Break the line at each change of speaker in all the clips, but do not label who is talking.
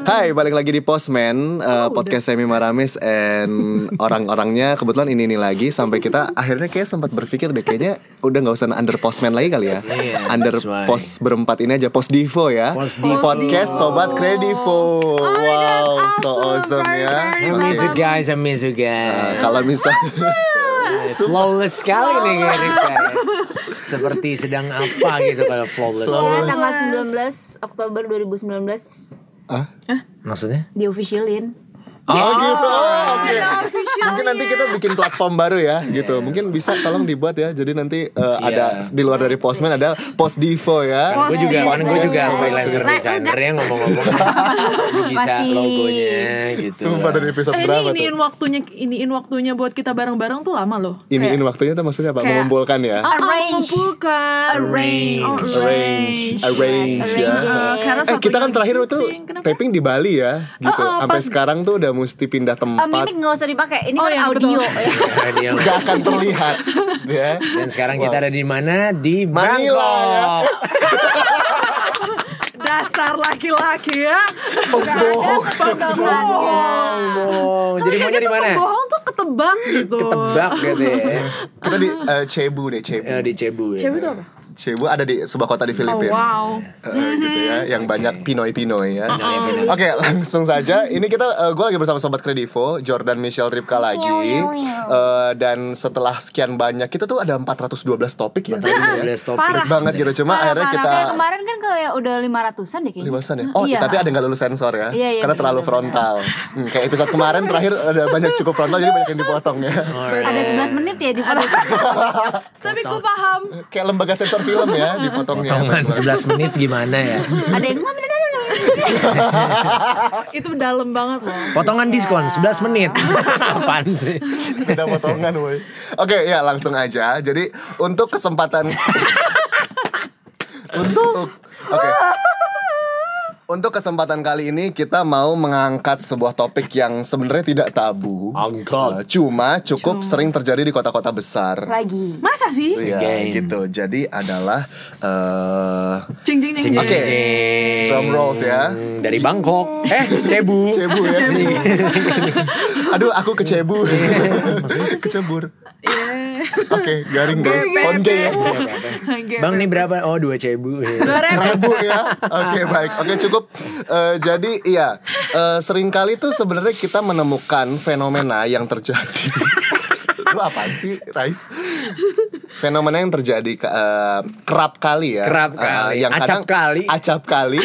Hai, balik lagi di
Oh,
Postman, eh, podcast Semi Maramis and orang-orangnya kebetulan ini ini lagi sampai kita akhirnya kayak sempat berpikir deh kayaknya udah nggak usah under Postman lagi kali ya.
Iya,
under
that's why.
Post berempat ini aja Post Divo ya.
Postdivo.
Podcast Sobat Kredivo. wow, so
Oh awesome,
awesome
very,
ya.
very
I
Oke.
miss you guys, I miss you
Eh,
guys.
kalau misalnya
flawless sekali nih Erika. Seperti sedang apa gitu kalau flawless.
Ya, tanggal 19 Oktober 2019
Maksudnya?
di officialin.
Oh gitu, oh, oke. Mungkin nanti kita bikin platform baru ya, gitu. Mungkin bisa tolong dibuat ya. Jadi nanti eh, ada
Iya.
di luar dari Postman ada Post Divo ya. Iya.
Gue juga, kan gue
Podcast.
juga freelancer
Lah,
designer ya ngomong-ngomong. Lu bisa
Masih.
logonya gitu.
Sumpah dari episode
Eh,
berapa
ini iniin
tuh?
waktunya iniin waktunya buat kita bareng-bareng tuh lama loh.
Iniin waktunya tuh maksudnya apa?
kayak-
Mengumpulkan ya.
Ah,
Arrange.
mengumpulkan.
Arrange.
Arrange,
Arrange.
arrange ya.
arrange.
Eh, karena
Eh
satu
kita kan
lagi
terakhir tuh
syuting. Kenapa?
taping di Bali ya, gitu.
Oh, oh,
Sampai
pas-
sekarang tuh udah mesti pindah
Eh,
tempat,
mimik nggak usah dipakai. Ini
Oh,
kan
iya,
audio.
betul.
ya.
Nah, dia-
nggak akan terlihat, ya.
Dan sekarang kita ada di mana? Di
Manila, ya.
Bangkok.
Dasar laki-laki ya.
Pembohong.
Potongannya.
Oh, jadi maunya di mana?
Bohong tuh ketebak gitu.
Ketebak gitu ya.
Kita di eh, Cebu deh, Cebu.
Ya, di Cebu ya.
Cewek itu apa?
Cebu ada di sebuah kota di
Oh,
Filipina.
wow.
Eh, gitu ya,
Mhm.
yang banyak Pinoy-Pinoy ya. Oke, langsung saja. Ini kita, gue lagi bersama sobat Kredivo, Jordan Michelle Ripka lagi. Eh, dan setelah sekian banyak, kita tuh ada 412 topik ya. tadi ya.
12 topik.
Parah.
Banget gitu, cuma akhirnya kita
Kayak kemarin kan kayak udah 500-an deh kayaknya.
lima ya. Oh,
Iya.
tapi ada nggak lulus sensor ya?
Iya, iya,
Karena
benar,
terlalu
benar.
frontal. Hmm, kayak episode kemarin terakhir ada banyak cukup frontal, jadi banyak yang dipotong ya.
Ada 11 menit ya di podcast.
Tapi gue paham.
Kayak lembaga sensor film ya dipotongnya.
Potongan 11 menit gimana ya?
ada yang ngomong
Itu dalam banget loh.
Potongan diskon 11 menit. Apaan sih?
Beda potongan, woi. Oke, ya langsung aja. Jadi untuk kesempatan untuk oke. Untuk kesempatan kali ini kita mau mengangkat sebuah topik yang sebenarnya tidak tabu.
Angkat.
Eh, Cuma cukup sering terjadi di kota-kota besar.
lagi.
Masa sih?
Iya,
Again.
gitu. Jadi adalah eh
Cing cing cing.
Oke. Drum rolls ya.
Dari Bangkok. Eh, Cebu.
Cebu ya. Aduh, aku ke Cebu. Kecebur. Oke, Iya. garing guys. Onge ya.
Bang nih berapa? Oh, dua Cebu.
Dua ribu.
Rabu ya. Oke baik. Oke cukup. Eh, jadi iya Eh, seringkali tuh sebenarnya kita menemukan fenomena yang terjadi. Lu apaan sih, Rais? Fenomena yang terjadi ke- eh, kerap kali ya.
Kerap
Eh,
kali.
yang
Acap
kadang,
kali.
Acap kali.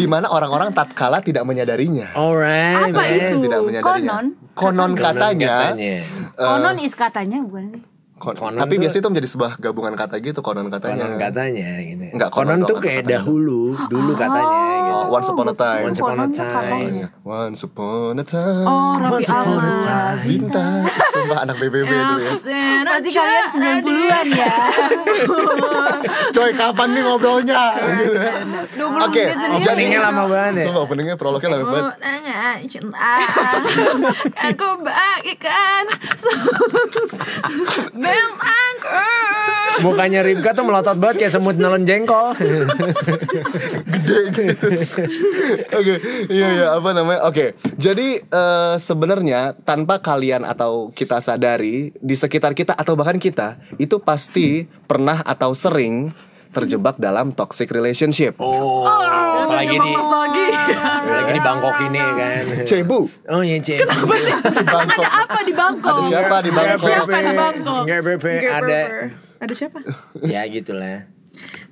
di mana orang-orang tatkala tidak menyadarinya. Iya,
Alright.
Apa
man.
itu?
Tidak menyadarinya.
Konon.
Konon katanya. Eh.
Konon is katanya bukan sih?
kon-
Konon
tapi
tuh-
biasanya itu menjadi sebuah gabungan kata gitu konon katanya.
Konon katanya gitu.
Enggak, konon
konon, tuh
doang,
kayak
katanya.
dahulu, dulu katanya gitu.
Oh, once upon a time.
Once upon a
Konon tuh
time.
katanya.
Iya. Once upon a time.
Oh, Raffi
Once upon a
Ahmad.
time.
Bintang Sumpah anak BBB dulu ya
Pasti kalian 90-an ya.
Coy kapan nih ngobrolnya Gitu ya. Oke
menit sendiri.
jadi
Openingnya lama banget ya.
Sumpah openingnya prolognya lama
Oh,
banget
cinta Ah, aku bagikan bel aku
Mukanya Ripka tuh melotot banget kayak semut nolon jengkol.
Oke Iya iya apa namanya Oke Jadi eh, sebenarnya Tanpa kalian atau kita sadari Di sekitar kita atau bahkan kita Itu pasti pernah atau sering Terjebak dalam toxic relationship
oh, apalagi di
lagi
apalagi di Bangkok ini kan.
Cebu
Oh iya, Cebu.
di Bangkok
apa di Bangkok
Ada siapa di
Ada
Bangkok?
siapa di Bangkok
Nggak, Pepe,
Nggak,
ada-
Pepe. ada siapa
ya gitulah.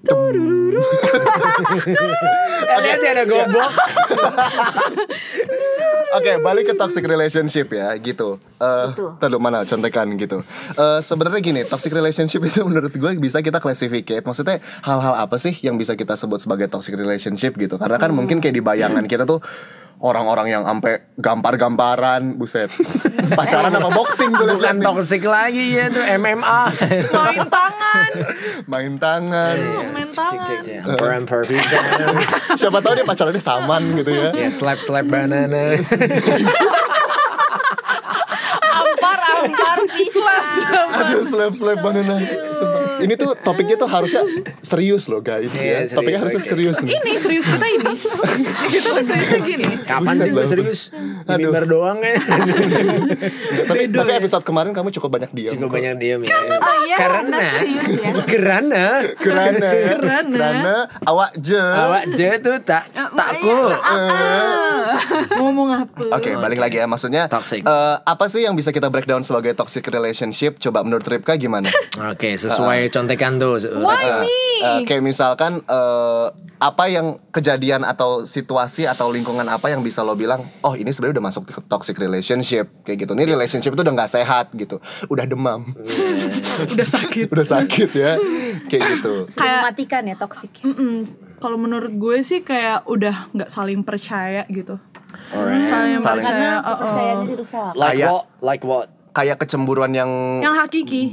Eh, Lihat ya ada gobok.
Oke, balik ke toxic relationship ya, gitu. Eh,
Gitu.
Ntar dulu, mana contekan gitu. Eh Sebenarnya gini, toxic relationship itu menurut gue bisa kita classificate. Maksudnya hal-hal apa sih yang bisa kita sebut sebagai toxic relationship gitu? Karena kan mungkin kayak di bayangan kita tuh orang-orang yang ampe gampar-gamparan, buset. Pacaran apa boxing gue liat-liat
Bukan
nih.
toxic lagi ya tuh MMA.
main tangan
Main tangan.
Iya.
main
Cek cek
tangan
cek. Hamper hamper pizza.
Siapa tahu dia pacarannya saman gitu ya.
Ya slap slap banana.
Ampar ampar
Slap,
pisah.
slap.
Ada slap-slap banana. nah. Sumpah. ini tuh topiknya tuh harusnya serius loh guys
Iya,
ya. Topiknya
serius,
harusnya
oke.
serius nih.
Ini serius kita ini. kita tuh serius gini.
Kapan
Buset,
sih gue
Bang.
serius? Di
Aduh.
mimbar doang
Ya,
ya.
tapi tapi episode kemarin kamu cukup banyak diam.
Cukup banyak diam ya.
Oh iya,
Karena
karena serius ya.
Karena
Kerana
Kerana.
kerana awak je.
awak je tuh tak takku.
Ngomong apa?
Oke, balik lagi ya. Maksudnya
Toxic.
eh, apa sih yang bisa kita breakdown sebagai toxic relationship? Coba menurut Ripka gimana?
Oke,
Ah.
sesuai contekan tuh.
Why me?
Eh, kayak misalkan eh, apa yang kejadian atau situasi atau lingkungan apa yang bisa lo bilang, "Oh, ini sebenarnya udah masuk ke toxic relationship." Kayak gitu. Ini relationship itu udah nggak sehat gitu. Udah demam.
Hmm.
Udah sakit.
udah sakit ya. Kayak gitu.
Sudah mematikan ya toksik.
Mm-mm. Kalau menurut gue sih kayak udah nggak saling percaya gitu. Saling,
Saling-
percaya.
Karena
oh, oh.
kepercayaannya dirusak.
Like
Kayak-
what? Like what?
Kayak kecemburuan yang
Yang hakiki.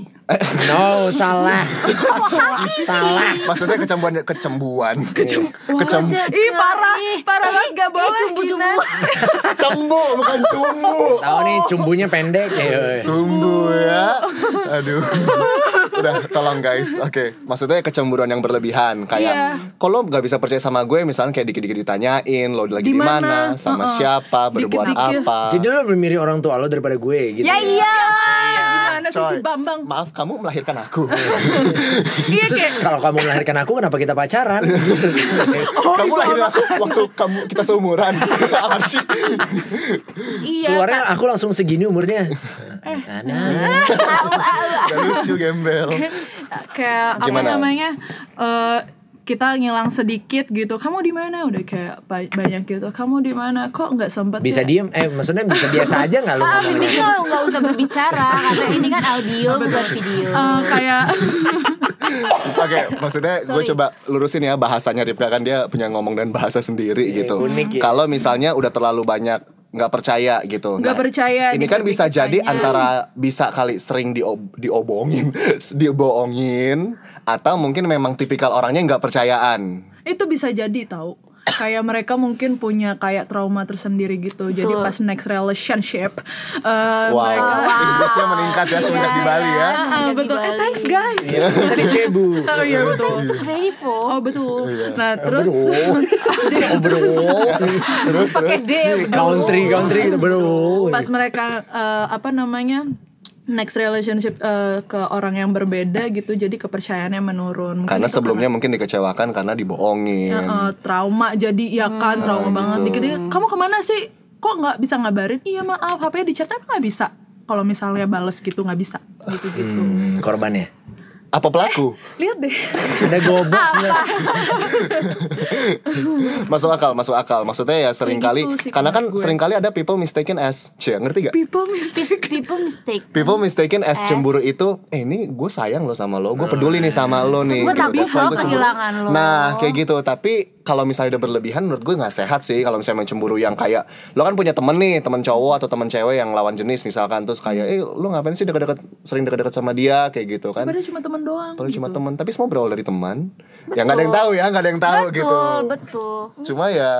No, salah. salah.
maksudnya kecemburuan kecembuan. Kecembu.
Iya,
Ih parah, parah banget gak boleh.
cumbu-cumbu.
Cembu bukan cumbu.
Oh,
Tahu nih
Oh.
cumbunya pendek ya.
Sumbu ya. Aduh. Udah tolong guys. Oke, maksudnya kecemburuan yang berlebihan kayak
Iya.
kalau nggak bisa percaya sama gue misalnya kayak dikit-dikit ditanyain lo lagi di
Dimana?
mana, sama
Uh-uh.
siapa, berbuat
Dikit-dikit.
apa.
Jadi lo lebih mirip orang tua lo daripada gue gitu.
Ya iya.
Gimana sih si
Coy,
Bambang?
Maaf kamu melahirkan aku.
Iya kayak
Terus kalau kamu melahirkan aku kenapa kita pacaran? Eh,
Oh,
kamu lahirin aku waktu kamu kita seumuran. Apa sih?
iya.
Keluarnya aku langsung segini umurnya.
Eh.
Anak.
Udah lucu gembel.
kayak apa
Gimana?
namanya eh, kita ngilang sedikit gitu kamu di mana udah kayak ba- banyak gitu kamu di mana kok nggak sempat
Bisa diem? Eh maksudnya bisa biasa aja nggak lo
Ah,
ngomongnya?
Bibi tuh nggak usah berbicara karena ini kan audio bukan video.
Eh, kayak
Oke, maksudnya gue coba lurusin ya bahasanya Ripka kan dia punya ngomong dan bahasa sendiri gitu.
unik ya.
Kalau misalnya udah terlalu banyak nggak percaya gitu.
Nggak percaya,
Ini kan bisa
dikit-dikit
jadi
tanya.
antara bisa kali sering diob- diobongin, dibohongin atau mungkin memang tipikal orangnya nggak percayaan.
itu bisa jadi tahu kayak mereka mungkin punya kayak trauma tersendiri gitu jadi
Betul.
pas next relationship eh,
Wow,
mereka
Inggrisnya meningkat ya semenjak di Bali ya.
Ah, ah, betul eh, thanks guys
Kita di Cebu.
oh iya betul
Grateful.
oh betul nah terus
Oh, bro.
Oh,
Terus
Pakai
terus
D.
country country gitu bro
pas mereka eh, apa namanya next relationship eh, ke orang yang berbeda gitu jadi kepercayaannya menurun Mungkin
karena
itu
sebelumnya mungkin dikecewakan karena dibohongin.
Eh, trauma jadi ya
Hmm.
kan
Nah,
trauma banget
gitu.
dikit kamu kemana sih kok nggak bisa ngabarin iya maaf HP-nya di charge emang nggak bisa kalau misalnya bales gitu nggak bisa gitu gitu
Hmm, korbannya
Apa pelaku?
lihat deh
ada
Ah.
gobok
Masuk akal, masuk akal. Maksudnya ya seringkali
gitu sih
karena kan
menurut gue.
seringkali ada people mistaken as cie, ngerti gak?
people mistake
Kan?
gitu.
People mistake.
People mistaken as cemburu itu Eh ini gue sayang lo sama lo Gue peduli nih sama lo nih
Gue takut
That's why
lo
gue cemburu.
kehilangan lo.
Nah kayak gitu Tapi kalau misalnya udah berlebihan Menurut gue gak sehat sih Kalau misalnya main cemburu yang kayak Lo kan punya temen nih Temen cowok atau temen cewek yang lawan jenis Misalkan terus kayak Eh lo ngapain sih deket-deket Sering deket-deket sama dia Kayak gitu kan
padahal cuma teman doang
Padahal cuma temen Tapi semua berawal dari teman Ya gak ada yang tahu ya Gak ada yang tahu gitu
Betul, betul.
Cuma ya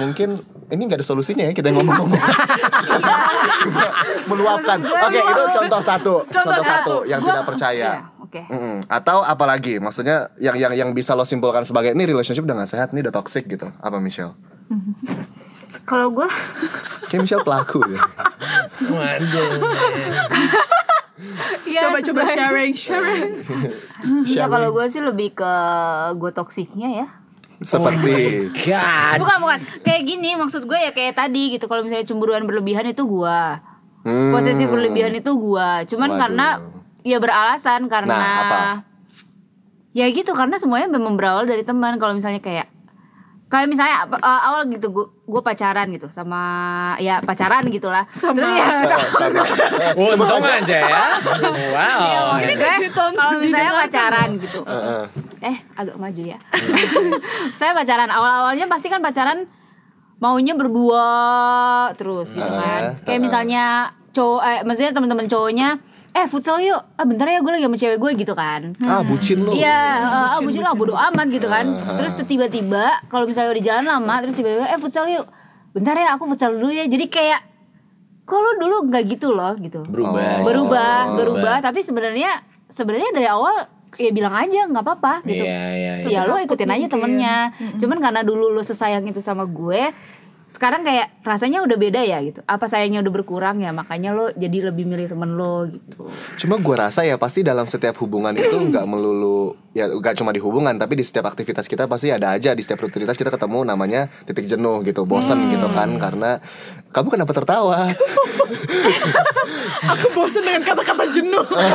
mungkin ini nggak ada solusinya ya kita yang ngomong-ngomong.
Iya.
Cuma meluapkan. Oke, itu contoh satu. Contoh, satu yang
Gua-
tidak
Ya.
percaya.
Iya, Oke.
Mm-mm. Atau apalagi maksudnya yang yang yang bisa lo simpulkan sebagai ini relationship udah gak sehat, ini udah toxic gitu. Apa Michelle?
Kalau gue
Kayak Michelle pelaku gitu. deh.
waduh
Iya, coba
Iya,
coba sharing
Iya.
sharing
Ya kalau gue sih lebih ke gue toksiknya ya.
Seperti
god
Bukan bukan. Kayak gini maksud gue ya kayak tadi gitu. Kalau misalnya cemburuan berlebihan itu gue.
Hmm.
Posesif berlebihan itu gue. Cuman
Waduh.
karena ya beralasan karena
Nah, apa?
ya gitu karena semuanya memang berawal dari teman. Kalau misalnya kayak kayak misalnya apa- eh, awal gitu gue gue pacaran gitu sama ya pacaran gitulah.
Sama-
Terus ya, sama-
Hmm.
untung aja ya wow
Maksud gue,
ditonton,
Iya. kalau misalnya pacaran gitu eh agak maju ya saya pacaran awal awalnya pasti kan pacaran maunya berdua terus gitu kan kayak misalnya cowok eh, maksudnya teman-teman cowoknya eh futsal yuk ah bentar ya gue lagi sama cewek gue gitu kan
ah bucin lo.
Iya, eh, ah, bucin lah bodo amat gitu kan. Terus tiba-tiba kalau misalnya udah jalan lama terus tiba-tiba eh futsal yuk. Bentar ya aku futsal dulu ya. Jadi kayak kok lu dulu nggak gitu loh gitu.
berubah Oh.
Berubah, berubah tapi sebenarnya sebenarnya dari awal ya bilang aja nggak apa-apa gitu
Iya, iya, iya.
ya lo ikutin aja temennya cuman karena dulu lo sesayang itu sama gue sekarang kayak rasanya udah beda ya gitu apa sayangnya udah berkurang ya makanya lo jadi lebih milih temen lo gitu
Cuma gue rasa ya pasti dalam setiap hubungan itu nggak melulu ya nggak cuma di hubungan tapi di setiap aktivitas kita pasti ada aja di setiap rutinitas kita ketemu namanya titik jenuh gitu
Hmm.
bosan gitu kan karena kamu kenapa tertawa
Aku bosen dengan kata-kata jenuh.
Iya.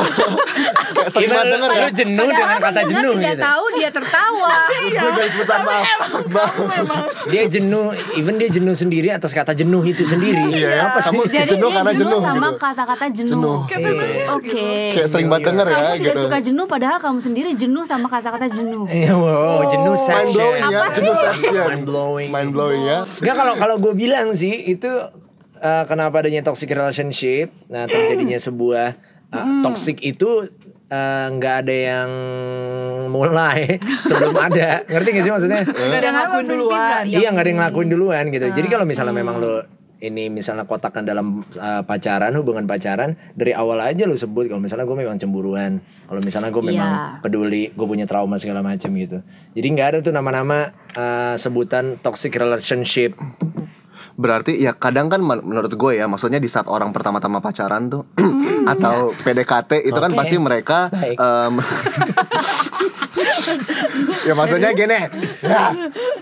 Kayak sering
Gimana
banget denger
lu
ya
jenuh
Padahal
dengan
kan
kata
dia
jenuh
tidak
gitu.
tahu dia tertawa
Gue
ya.
guys besar maaf
Kamu memang
Dia jenuh, even dia jenuh sendiri atas kata jenuh itu sendiri.
Iya apa sih
jadi
jenuh
dia
karena
jenuh,
jenuh
sama
gitu
kata-kata jenuh,
Jenuh.
kayak memang
oke
Kayak sering banget denger ya
kamu tidak
gitu
suka jenuh padahal kamu sendiri jenuh sama kata-kata jenuh
Iya, wow, jenuh
Mind blowing ya
Apa sih?
jenuh section
Mind blowing.
Mind blowing ya
Nggak, kalau kalau gue bilang sih itu eh, kenapa adanya toxic relationship, nah terjadinya sebuah eh,
Hmm.
toxic itu eh, nggak ada yang mulai sebelum ada, ngerti gak sih maksudnya?
Gak ada yang ngakuin
Ah,
duluan.
Iya nggak ada yang ngelakuin duluan gitu. Jadi kalau misalnya memang lo ini misalnya kotakan dalam uh, pacaran hubungan pacaran dari awal aja lo sebut kalau misalnya gue memang cemburuan, kalau misalnya gue memang
Iya.
peduli, gue punya trauma segala macam gitu. Jadi nggak ada tuh nama-nama uh, sebutan toxic relationship.
Berarti ya kadang kan men- menurut gue ya Maksudnya di saat orang pertama-tama pacaran tuh Atau PDKT itu kan
Iya. Oke.
pasti mereka
Baik.
em, Ya maksudnya gini ya,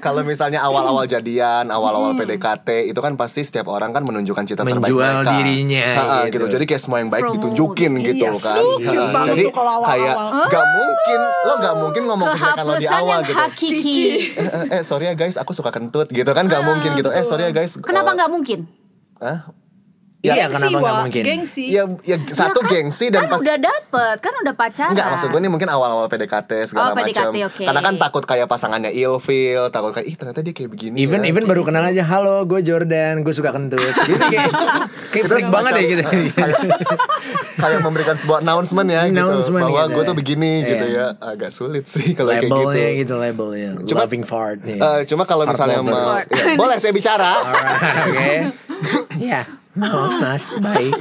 Kalau misalnya awal-awal jadian Awal-awal PDKT Itu kan pasti setiap orang kan menunjukkan cita terbaik
Hmm. Menjual
mereka
dirinya,
Ha-ha, gitu.
gitu.
Jadi kayak semua yang baik
Promote.
ditunjukin gitu
Iya,
kan
sih.
Ha-ha,
Banget
Jadi
tuh kalau awal-awal.
kayak gak mungkin Lo gak mungkin ngomong kejelekan lo di
kehapusan
awal
yang
gitu
hakiki
Eh, eh, eh, sorry ya guys, aku suka kentut gitu kan nggak mungkin gitu. Eh sorry ya guys.
kenapa nggak mungkin
eh, Hah?
Iya
Gengsi,
kenapa nggak
Wak.
mungkin? Iya,
Gengsi.
Ya, ya satu
Ya kan,
gengsi dan
kan
pas
udah dapet kan udah pacaran
Enggak maksud gue ini mungkin awal-awal PDKT segala
Oh, PDKT,
macam.
oke.
Karena kan takut kayak pasangannya ilfil, takut kayak ih ternyata dia kayak begini.
Even
ya.
even baru kenal aja, halo gue Jordan, gue suka kentut. Gitu kayak
Kita
kayak freak
semacam,
banget ya gitu.
eh, kayak, kayak memberikan sebuah announcement ya
Announcement
gitu bahwa
gitu
gue
ya.
tuh begini
Iya.
gitu ya agak sulit sih kalau kayak gitu.
labelnya gitu, labelnya.
Cuma-
Loving fart. ya.
Eh, cuma kalau
Fart
misalnya
lovers.
mau, ya, boleh saya bicara.
Alright, oke. Iya. Oh, Mas, baik.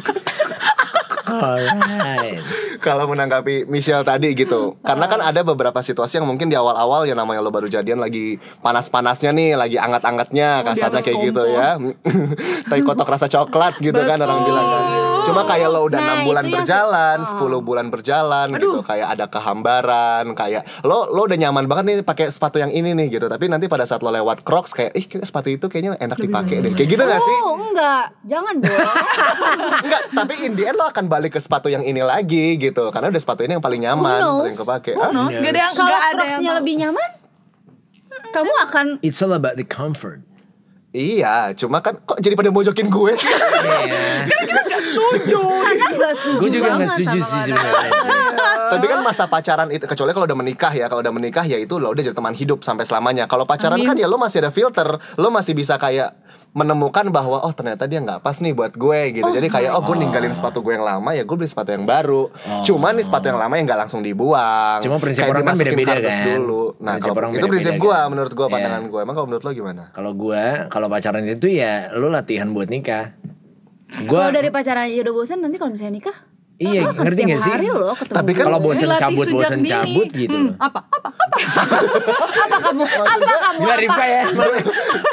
Alright.
kalau menanggapi Michelle tadi gitu karena kan ada beberapa situasi yang mungkin di awal-awal ya namanya lo baru jadian lagi panas-panasnya nih lagi angkat-angatnya kasarnya
atas
kayak gitu
kompor.
ya tai kotok rasa coklat gitu kan orang bilang kan cuma kayak lo udah
Nah,
enam
itu
bulan
yang-
berjalan 10 bulan berjalan gitu kayak ada kehambaran kayak lo lo udah nyaman banget nih pakai sepatu yang ini nih gitu tapi nanti pada saat lo lewat Crocs kayak ih kayaknya sepatu itu kayaknya enak dipakai deh kayak gitu gak sih
oh enggak jangan dong
Enggak, tapi in the end lo akan balik ke sepatu yang ini lagi gitu Karena udah sepatu ini yang paling nyaman
Who knows?
Paling kepake Ah, Hah?
Iya.
Bonus, gak Oh, ada yang
kalau
gak ada yang
crocsnya lebih nyaman kamu akan
It's all about the comfort.
Iya, cuma kan kok jadi pada mojokin gue sih
setuju.
karena nggak setuju
Gue Ya. juga
banget
nggak setuju
sama kan?
sih
kata-
sebenarnya. sih.
Tapi kan masa pacaran itu Kecuali kalau udah menikah ya Kalau udah menikah ya itu lo udah jadi teman hidup sampai selamanya Kalau pacaran kan ya lo masih ada filter Lo masih bisa kayak menemukan bahwa oh ternyata dia nggak pas nih buat gue gitu jadi kayak oh gue ninggalin sepatu gue yang lama ya gue beli sepatu yang baru cuma nih sepatu yang lama yang nggak langsung dibuang
Oh. Cuma prinsip orang kan
dimasukin
beda-beda
kardus
kan.
dulu nah
Prinsip
kalau
orang
itu prinsip
beda-beda
gue
kan.
menurut gue
Iya.
pandangan gue emang kalau menurut lo gimana
Kalau gue, kalau pacaran itu ya lu latihan buat nikah. Gue
kalau dari pacaran aja udah bosan nanti kalau misalnya nikah
iya
akan
ngerti
setiap
gak sih?
hari loh ketemu
Tapi kan-
kalau bosen
Dilatih
cabut,
sejak
bosen
dini.
cabut gitu
Hmm,
loh.
Apa? Apa? Apa?
apa kamu apa kamu
Gimana
apa
Rifka ya?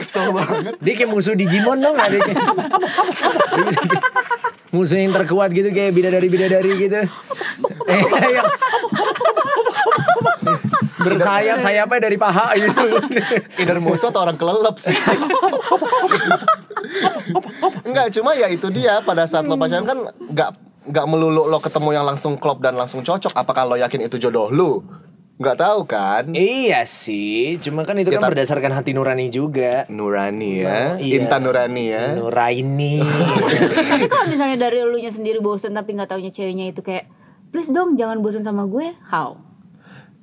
kesel banget
Dia kayak musuh Digimon dong gak adanya. musuh yang terkuat gitu kayak bidadari-bidadari gitu. Eh, yang- Bersayap sayapnya dari paha gitu.
Either musuh atau orang kelelep sih Enggak cuma ya itu dia Pada saat lo pacaran kan Gak nggak melulu lo ketemu yang langsung klop dan langsung cocok Apakah lo yakin itu jodoh lu? Gak tahu kan
iya sih, cuma kan itu
Ya,
kan
tapi-
berdasarkan hati nurani juga.
Nurani ya
Iya.
Intan Nurani ya
Nuraini.
tapi kalau misalnya dari elunya sendiri bosan tapi nggak taunya ceweknya itu kayak please dong jangan bosan sama gue how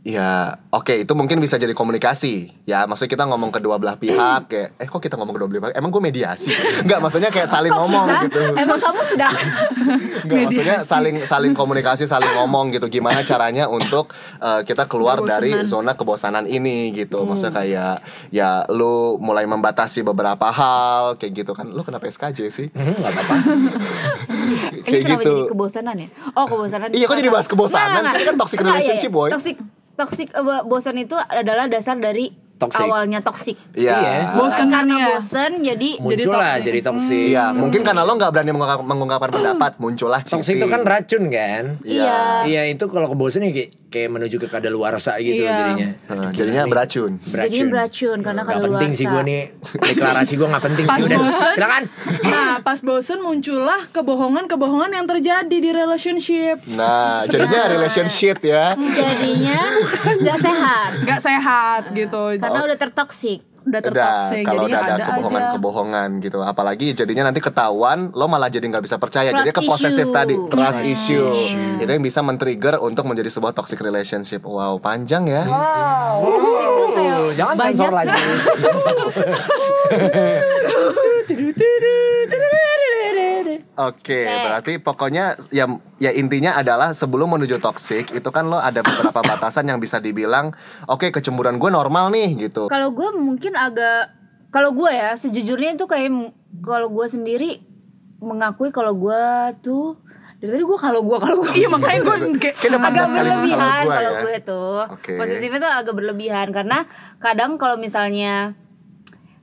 Ya, oke itu mungkin bisa jadi komunikasi. Ya, maksudnya kita ngomong kedua belah pihak kayak eh kok kita ngomong kedua belah pihak? Emang gue mediasi? Enggak, maksudnya kayak saling ngomong
Hah?
gitu.
Emang kamu sudah
Enggak, maksudnya saling saling komunikasi, saling ngomong gitu. Gimana caranya untuk eh, kita keluar dari zona kebosanan ini gitu.
Hmm.
Maksudnya kayak ya lu mulai membatasi beberapa hal kayak gitu kan. Lu kenapa SKJ sih?
Hmm, nggak apa-apa.
Ini
kayak
kenapa
gitu.
jadi kebosanan ya? Oh kebosanan
Iya, kok jadi bahas kebosanan
Nggak, nggak,
sih? Ini kan toxic
nggak, iya,
relationship,
iya.
boy.
Toxic, toxic eh, bosan itu adalah dasar dari
Toxic.
awalnya toxic
Iya.
Iya.
Bosen
Karena
ya.
bosan jadi
Muncul lah jadi toksik.
Iya, mungkin karena lo nggak berani mengungkap- mengungkapkan pendapat, muncullah cheating.
Toksik itu kan racun kan?
Iya.
Iya itu kalau kebosan ya kayak, kayak menuju ke kadaluarsa gitu
Iya.
jadinya.
Nah, jadinya beracun.
jadinya beracun karena
Nggak
kalau
penting sih gue nih deklarasi gue nggak penting
Pas
sih udah.
bosan.
Silakan.
Nah, pas bosen muncullah kebohongan-kebohongan yang terjadi di relationship.
Nah, jadinya
Nah.
relationship ya.
jadinya nggak sehat
Nggak sehat gitu.
karena
Oh.
udah tertoksik
Udah,
udah tertoksik
kalau
jadinya
udah ada
ada aja.
kebohongan-kebohongan gitu Apalagi jadinya nanti ketahuan Lo malah jadi nggak bisa percaya
Trust
Jadinya keposesif
issue.
tadi Trust
Trust
issue Itu yang bisa men-trigger Untuk menjadi sebuah toxic relationship Wow, panjang ya
toxic tuh kayak
Oh, Jangan sensor
banyak-
lagi.
Oke, berarti pokoknya ya ya intinya adalah sebelum menuju toxic itu kan lo ada beberapa batasan yang bisa dibilang oke kecemburuan gue normal nih gitu.
kalau gue mungkin agak kalau gue ya sejujurnya itu kayak m- kalau gue sendiri mengakui kalau gue tuh dari tadi gue kalau gue kalau gue
Iya makanya gue kayak
Kayaknya pantas kali
agak
kalau gue
berlebihan kalau
ya.
gue tuh
Oke.
posesifnya tuh agak berlebihan karena kadang kalau misalnya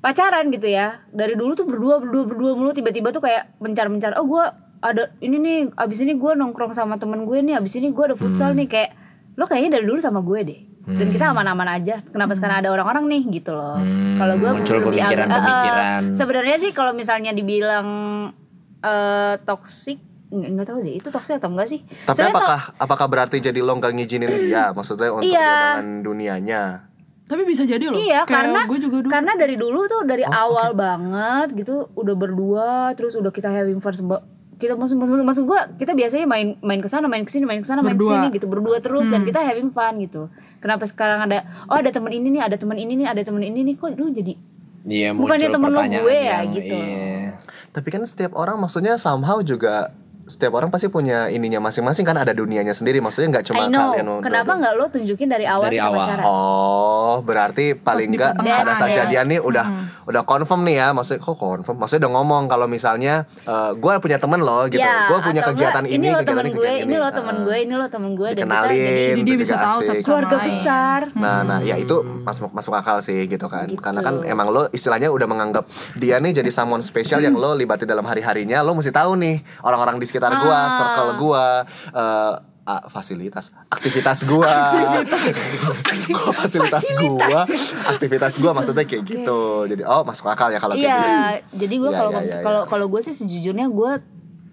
pacaran gitu ya dari dulu tuh berdua berdua berdua mulu tiba-tiba tuh kayak mencar mencar oh gue ada ini nih abis ini gue nongkrong sama temen gue nih abis ini gue ada futsal
Hmm.
nih kayak lo kayaknya dari dulu sama gue deh dan kita aman-aman aja kenapa sekarang ada orang-orang nih gitu loh
Hmm,
kalau gue
muncul
lebih agak-
pemikiran-pemikiran.
Eh, eh, sebenarnya sih kalau misalnya dibilang eh toxic nggak nggak tahu deh itu toxic atau enggak sih
Tapi
Soalnya to-
apakah apakah berarti jadi lo nggak ngizinin dia? Maksudnya untuk
Iya.
dia dengan dunianya?
Tapi bisa jadi loh.
Iya
Kayak
karena
gue juga dulu.
karena dari dulu tuh dari awal banget gitu udah berdua terus udah kita having fun seba- kita masuk masuk masuk masuk gua kita biasanya main main kesana main kesini main kesana main
Berdua.
kesini gitu berdua terus dan kita having fun gitu kenapa sekarang ada oh ada teman ini nih ada teman ini nih ada teman ini nih kok dulu jadi
Iya muncul
Bukannya temen lo
pertanyaan
gue ya,
yang-
gitu.
iya.
Tapi kan setiap orang maksudnya somehow juga setiap orang pasti punya ininya masing-masing kan ada dunianya sendiri. Maksudnya nggak
I
cuma
know
kalian berdua.
kenapa nggak lo tunjukin dari awal
Dari
kita
awal.
pacaran
Oh, berarti paling
di
enggak
pertengahan
pada saat
ya.
jadian nih udah udah confirm nih ya, maksudnya kok confirm? Maksudnya udah ngomong kalau misalnya gue punya temen loh gitu,
Ya,
gue punya
atau
kegiatan
enggak,
ini,
lo
kegiatan
temen
ini,
gue
kegiatan
ini lo temen
Ah.
gue ini lo temen gue dan kita jadi
dikenalin,
Jadi dia
itu
bisa
Iya, juga
tahu
asik.
satu sama
keluarga
Sama lain.
besar
Nah, nah, ya itu masuk masuk akal sih gitu kan.
Hmm. Gitu.
Karena kan emang lo istilahnya udah menganggap dia nih jadi someone spesial yang lo libatin dalam hari-harinya, lo mesti tahu nih orang-orang di sekitar gua,
Ah.
circle gua, eh, ah, fasilitas, aktivitas gua. Kok fasilitas gua,
ya.
aktivitas gua maksudnya kayak gitu. Jadi oh masuk akal ya kalau kayak gitu. sih.
Iya, jadi gue
Iya,
kalau
iya,
ngomong-
iya, iya.
kalau kalau gue sih sejujurnya gue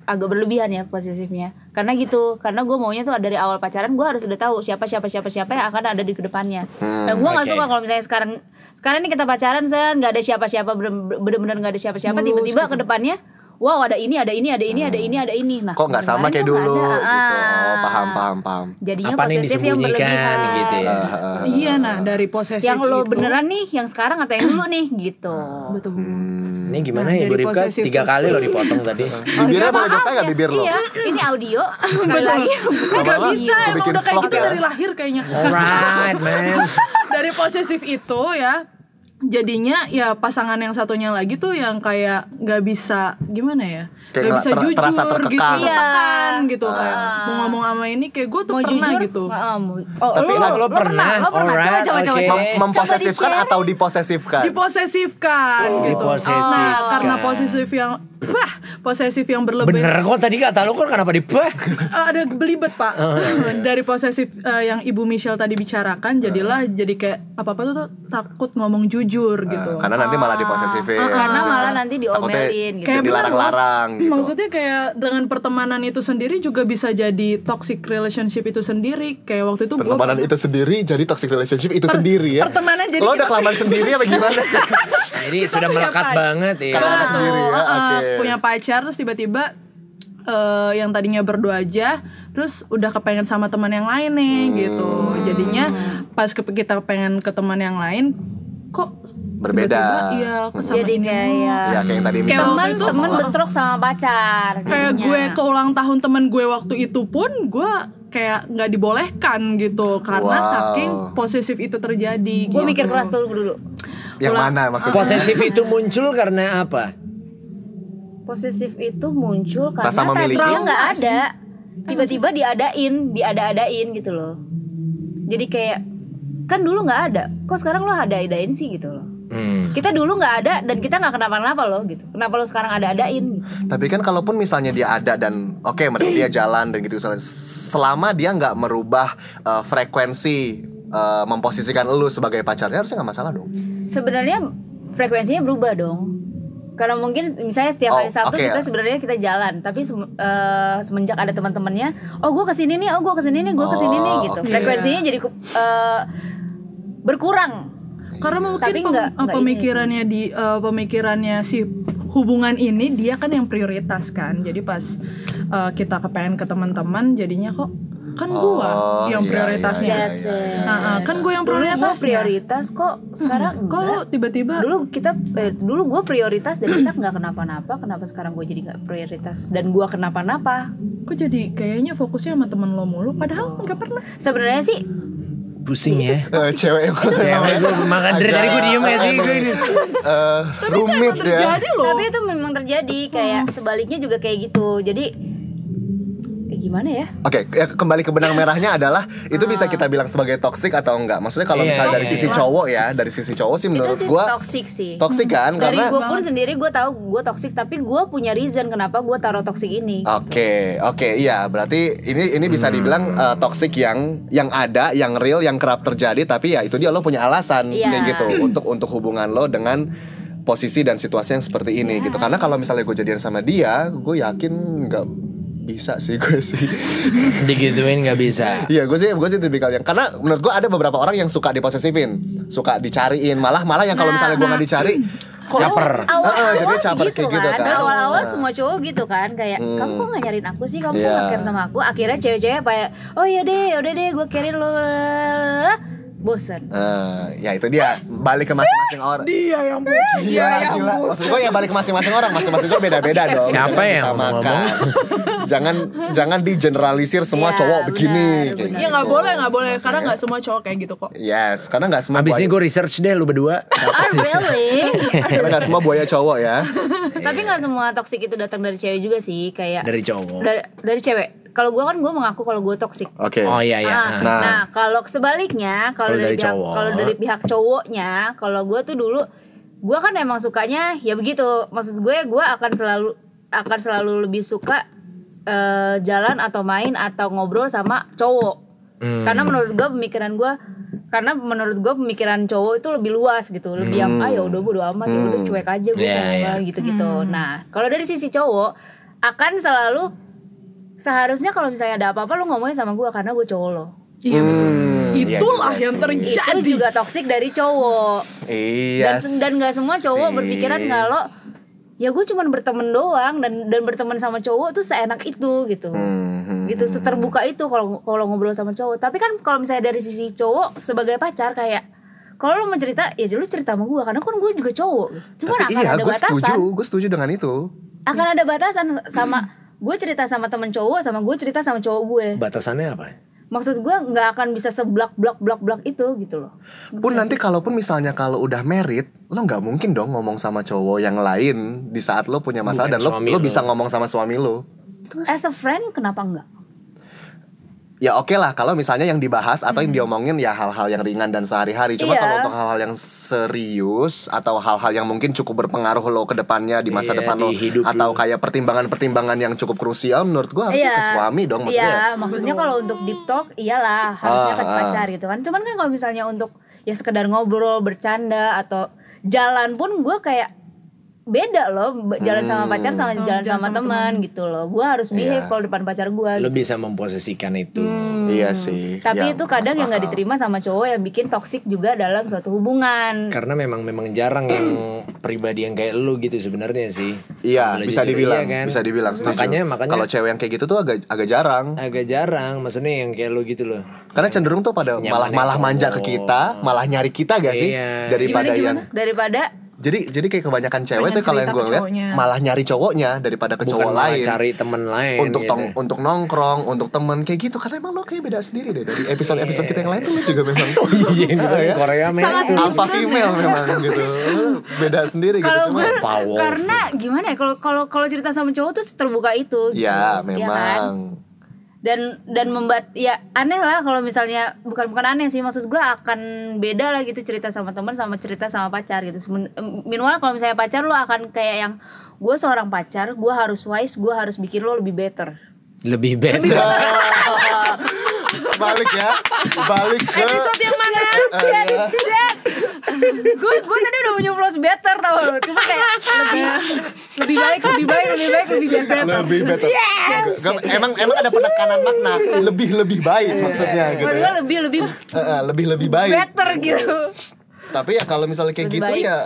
agak berlebihan ya posesifnya. Karena gitu, karena gue maunya tuh dari awal pacaran gue harus udah tahu siapa siapa siapa siapa yang akan ada di kedepannya.
Hmm,
Dan gue nggak
Oke.
suka kalau misalnya sekarang sekarang ini kita pacaran saya nggak ada siapa-siapa bener- bener-bener nggak ada siapa-siapa tiba-tiba
gitu.
kedepannya wow ada ini ada ini ada ini ada ini ada ini nah
Hmm. Kok nggak sama
kemarin
kayak
kok nggak
dulu
ada.
gitu.
Ah.
Oh, paham paham paham.
jadinya
Apa nih yang
posesif yang
disembunyikan
berlebihan
gitu ya. gitu.
Iya nah dari posesif
yang lo
itu-
beneran nih yang sekarang atau yang dulu nih gitu
Ah.
Betul.
Hmm.
Ini gimana
Nah,
ya
jadi
Bu Ripka
posesif
tiga
terus.
kali lo dipotong tadi.
Bibirnya boleh
maaf
biasa nggak
ya.
bibir lo?
Iya, ini audio sekali lagi.
Gak
Lama-lama
bisa
suruh
emang
bikin
udah kayak
vlog
gitu
ya.
dari lahir kayaknya.
Alright man.
dari posesif itu ya jadinya ya pasangan yang satunya lagi tuh yang kayak nggak bisa gimana ya
Kayak
nggak
nggak
bisa
ter-
jujur
terasa
gitu
terkekang.
Iya.
tertekan gitu kayak mau ngomong sama ini kayak gue tuh
Mau
pernah
jujur?
gitu
Heeh, mau- Oh,
Tapi
lo,
kan-
lo, pernah, lo pernah. Coba
Alright,
coba coba.
oke.
coba.
Mem- memposesifkan
Coba
atau diposesifkan?
diposesifkan gitu
diposesifkan.
nah karena posesif yang wah posesif yang berlebih
Bener kok tadi kata lo kok kenapa dibah?
Eh, ada belibet pak dari posesif eh, yang ibu Michelle tadi bicarakan jadilah jadi kayak apa apa tuh, tuh takut ngomong jujur gitu
Ah, Karena nanti malah diposesifin.
Ah. karena malah nanti
Takutnya
diomelin gitu.
Kayak
Kayak
dilarang-larang gitu.
Maksudnya kayak dengan pertemanan itu sendiri juga bisa jadi toxic relationship itu sendiri. Kayak waktu itu gue
Pertemanan itu sendiri jadi toxic relationship itu sendiri ya.
pertemanan jadi
Lo
kita-
udah kelamaan sendiri apa gimana sih?
Jadi Nah, sudah melekat banget ya.
Karena-
Tuh,
sendiri ya,
uh-uh,
oke.
punya pacar terus tiba-tiba eh, yang tadinya berdua aja terus udah kepengen sama teman yang lain nih
Hmm.
gitu jadinya pas ke kita pengen ke teman yang lain kok
Berbeda.
tiba-tiba, iya aku sama
Jadi
ini mulu.
kayak
ya kayak yang tadi misal
temen
waktu itu-
temen bentrok sama pacar.
kayak
jadinya.
gue ke ulang tahun temen gue waktu itu pun gue kayak nggak dibolehkan gitu karena
Wow.
saking posesif itu terjadi
Gue
gitu.
mikir keras dulu dulu.
yang
ulang-
mana maksudnya
Posesif itu muncul karena apa?
Posesif itu muncul karena
Rasa memiliki.
tadinya nggak ada, tiba-tiba diadain, diada-adain gitu loh. Jadi kayak kan dulu nggak ada, kok sekarang lo ada-adain sih gitu loh.
Hmm.
Kita dulu nggak ada dan kita nggak kenapa-napa loh gitu. Kenapa lo sekarang ada-adain? Gitu.
tapi kan kalaupun misalnya dia ada dan oke mereka dia jalan dan gitu misalnya, selama dia nggak merubah eh, frekuensi eh, memposisikan lu sebagai pacarnya harusnya nggak masalah dong
Sebenarnya frekuensinya berubah dong. Karena mungkin misalnya setiap
Oh,
hari Sabtu
oke.
kita sebenarnya kita jalan, tapi sem- eh, semenjak ada teman-temannya, oh gue kesini nih, oh gue kesini nih, gue kesini nih
Oh,
gitu.
oke.
Frekuensinya jadi ke- eh, berkurang.
Iya.
karena mungkin
Tapi
pem-
nggak-
eh,
nggak ini
pemikirannya di eh, pemikirannya si hubungan ini dia kan yang prioritas kan jadi pas eh, kita kepengen ke teman-teman jadinya kok kan gua yang
iya,
prioritasnya
iya,
That's
iya, iya,
it.
iya,
Nah,
iya,
kan
iya.
gue yang
Dulu gue
prioritas
prioritas kok sekarang
Hmm, kok lu
enggak.
tiba-tiba
dulu kita eh, dulu gue prioritas dan kita nggak kenapa-napa kenapa sekarang gue jadi nggak prioritas dan gue kenapa-napa
kok jadi kayaknya fokusnya sama temen lo mulu padahal nggak pernah
sebenarnya sih
Pusing ya.
Eh, cewek yang ya.
Cewek gue makan dari tadi gue diem ya sih
Agak-
gue ini.
eh, rumit ya
terjadi Gitu loh
tapi itu memang terjadi kayak sebaliknya juga kayak gitu jadi eh, gimana ya
Oke, ya, kembali ke benang merahnya adalah itu bisa
Ah.
kita bilang sebagai toxic atau enggak. Maksudnya kalau
Iya,
misalnya dari
iya,
sisi
iya.
cowok ya, dari sisi cowok sih menurut
itu sih
gua
toxic sih
toxic kan
dari
karena
gue pun sendiri gue tahu gue toxic tapi gue punya reason kenapa gue taruh toxic ini
Ah. Oke, oke, iya. Berarti ini ini
Hmm.
bisa dibilang eh, toxic yang yang ada, yang real, yang kerap terjadi. Tapi ya itu dia lo punya alasan
Iya.
kayak gitu untuk untuk hubungan lo dengan posisi dan situasi yang seperti ini
Iya.
gitu. Karena kalau misalnya gue jadian sama dia, gue yakin nggak bisa sih gue sih.
Digituin gak bisa.
Iya, gue sih gue sih tipikal yang karena menurut gue ada beberapa orang yang suka diposesifin, suka dicariin, malah malah yang kalau
Nah,
misalnya gue nggak dicari, kok
Caper.
Heeh,
awal-awal
Ah, jadi caper
gitu
kayak gitu
kan,
kan.
awal-awal
Nah.
semua cowok gitu kan kayak kamu kok gak nyariin aku sih kamu kok
Iya.
gak care sama aku akhirnya cewek-cewek kayak oh ya deh udah deh gue carein lo bosen
Eh, ya itu dia balik ke masing-masing orang.
dia yang pusing
Iya, gila. Maksud gue ya balik ke masing-masing orang, masing-masing cowok beda-beda dong.
Siapa
Jangan
yang
disamakan.
ngomong?
jangan jangan digeneralisir semua
Iya,
cowok
benar,
begini. kayak
benar.
ya nggak
gitu.
boleh nggak boleh
Masing-masing
karena
ya.
nggak semua cowok kayak gitu kok
Yes, karena nggak semua
Abis ini
buaya,
gue research deh lu berdua.
ah really
karena nggak semua buaya cowok ya.
tapi gak semua toxic itu datang dari cewek juga sih kayak
Dari cowok.
dari, dari cewek kalau gue kan gue mengaku kalau gue toxic
Oke.
Oh iya iya.
Ah,
Ah.
Nah.
nah, kalau sebaliknya kalau
Kalau
dari,
dari
pihak
cowok.
kalau dari pihak cowoknya kalau gue tuh dulu gue kan emang sukanya ya begitu maksud gue gue akan selalu akan selalu lebih suka eh, jalan atau main atau ngobrol sama cowok
Hmm.
karena menurut gue pemikiran gue karena menurut gue pemikiran cowok itu lebih luas gitu lebih yang ayo udah bodo amat ya udah cuek aja gue
Iya,
kayak
iya.
apa," gitu-gitu nah kalau dari sisi cowok akan selalu seharusnya kalau misalnya ada apa-apa lo ngomongin sama gue karena gue cowok lo
iya
Hmm, iya
itulah
juga
yang
sih.
terjadi
itu juga toksik dari cowok
Iya.
dan dan nggak semua cowok
sih.
berpikiran kalau ya gue cuman berteman doang dan dan berteman sama cowok tuh seenak itu gitu
Mhm.
gitu seterbuka itu kalau kalau ngobrol sama cowok tapi kan kalau misalnya dari sisi cowok sebagai pacar kayak kalau lo mau cerita ya lu cerita sama gue karena kan gue juga cowok gitu. cuman
Tapi
akan
iya,
ada
gue
batasan
setuju, gue setuju dengan itu.
akan ada batasan sama gue cerita sama temen cowok sama gue cerita sama cowok gue
Batasannya apa?
maksud gue nggak akan bisa seblak blak blak blak itu gitu loh
Pun nanti kalaupun misalnya kalau udah merit, lo nggak mungkin dong ngomong sama cowok yang lain di saat lo punya masalah
Bukan
dan lo,
suami
lo
lo.
bisa ngomong sama suami lo.
as a friend kenapa enggak
Ya oke lah kalau misalnya yang dibahas atau yang diomongin ya hal-hal yang ringan dan sehari-hari. Cuma
Hmm. Iya.
kalau untuk hal-hal yang serius atau hal-hal yang mungkin cukup berpengaruh lo ke depannya di masa
Iya,
depan lo
di hidup
atau
lo.
kayak pertimbangan-pertimbangan yang cukup krusial menurut gue harusnya ke suami dong Oh, maksudnya.
Iya, maksudnya kalau untuk deep talk iyalah harusnya
Ah,
ke
ah.
pacar gitu kan. Cuman kan kalau misalnya untuk ya sekedar ngobrol, bercanda atau jalan pun gue kayak beda loh b- jalan sama pacar sama
Hmm,
Oh, jalan
jalan
sama,
sama
teman gitu loh. Gue harus behave
Iya.
kalau depan pacar gue.
Lu bisa memposisikan itu.
Hmm,
Iya sih. ya,
Tapi itu kadang
masuk
yang nggak
akal.
diterima sama cowok yang bikin toksik juga dalam suatu hubungan.
Kan
karena memang memang jarang yang pribadi yang kayak lu gitu sebenarnya sih
Iya,
Kalau
bisa
jujur,
dibilang,
iya kan?
bisa dibilang setuju.
makanya makanya
kalau cewek yang kayak gitu tuh agak agak jarang.
agak jarang maksudnya yang kayak lu gitu loh
Karena cenderung tuh pada malah
yang
malah manja ke
cowok.
kita, malah nyari kita gak sih
Oh. Iya.
daripada yang
Daripada
jadi jadi kayak kebanyakan cewek tuh kalau yang
cerita
gue
ke
lihat
cowoknya.
malah nyari cowoknya daripada ke
bukan
cowok
malah
lain.
cari temen lain
untuk
gitu.
tong, untuk nongkrong, untuk temen kayak gitu karena emang lo kayak beda sendiri deh dari episode-episode kita yang lain tuh lo juga memang
iya
Ah, ya?
Korea memang
Sangat
alpha female memang gitu. Lo beda sendiri gitu
kalau
cuma
gue
Power.
karena gimana ya kalau kalau kalau cerita sama cowok tuh terbuka itu. gitu.
ya
kan?
memang
dan dan membuat ya aneh lah kalau misalnya bukan bukan aneh sih maksud gue akan beda lah gitu cerita sama teman sama cerita sama pacar gitu Semen- em, minimal kalau misalnya pacar lo akan kayak yang gue seorang pacar gue harus wise gue harus bikin lo lebih better
lebih better
balik ya. Balik ke
Episode yang mana?
gue gue tadi udah menyumplos better tau lo cuma kayak lebih
Hmm.
lebih baik Iya. lebih baik lebih baik lebih better
lebih better. Gak- Emang emang ada penekanan makna lebih lebih baik
Iya.
maksudnya gitu.
maksud
ya.
gue lebih lebih
Eh, eh, lebih lebih baik.
better gitu
Tapi ya kalau misalnya kayak
Lebih
gitu
baik.
ya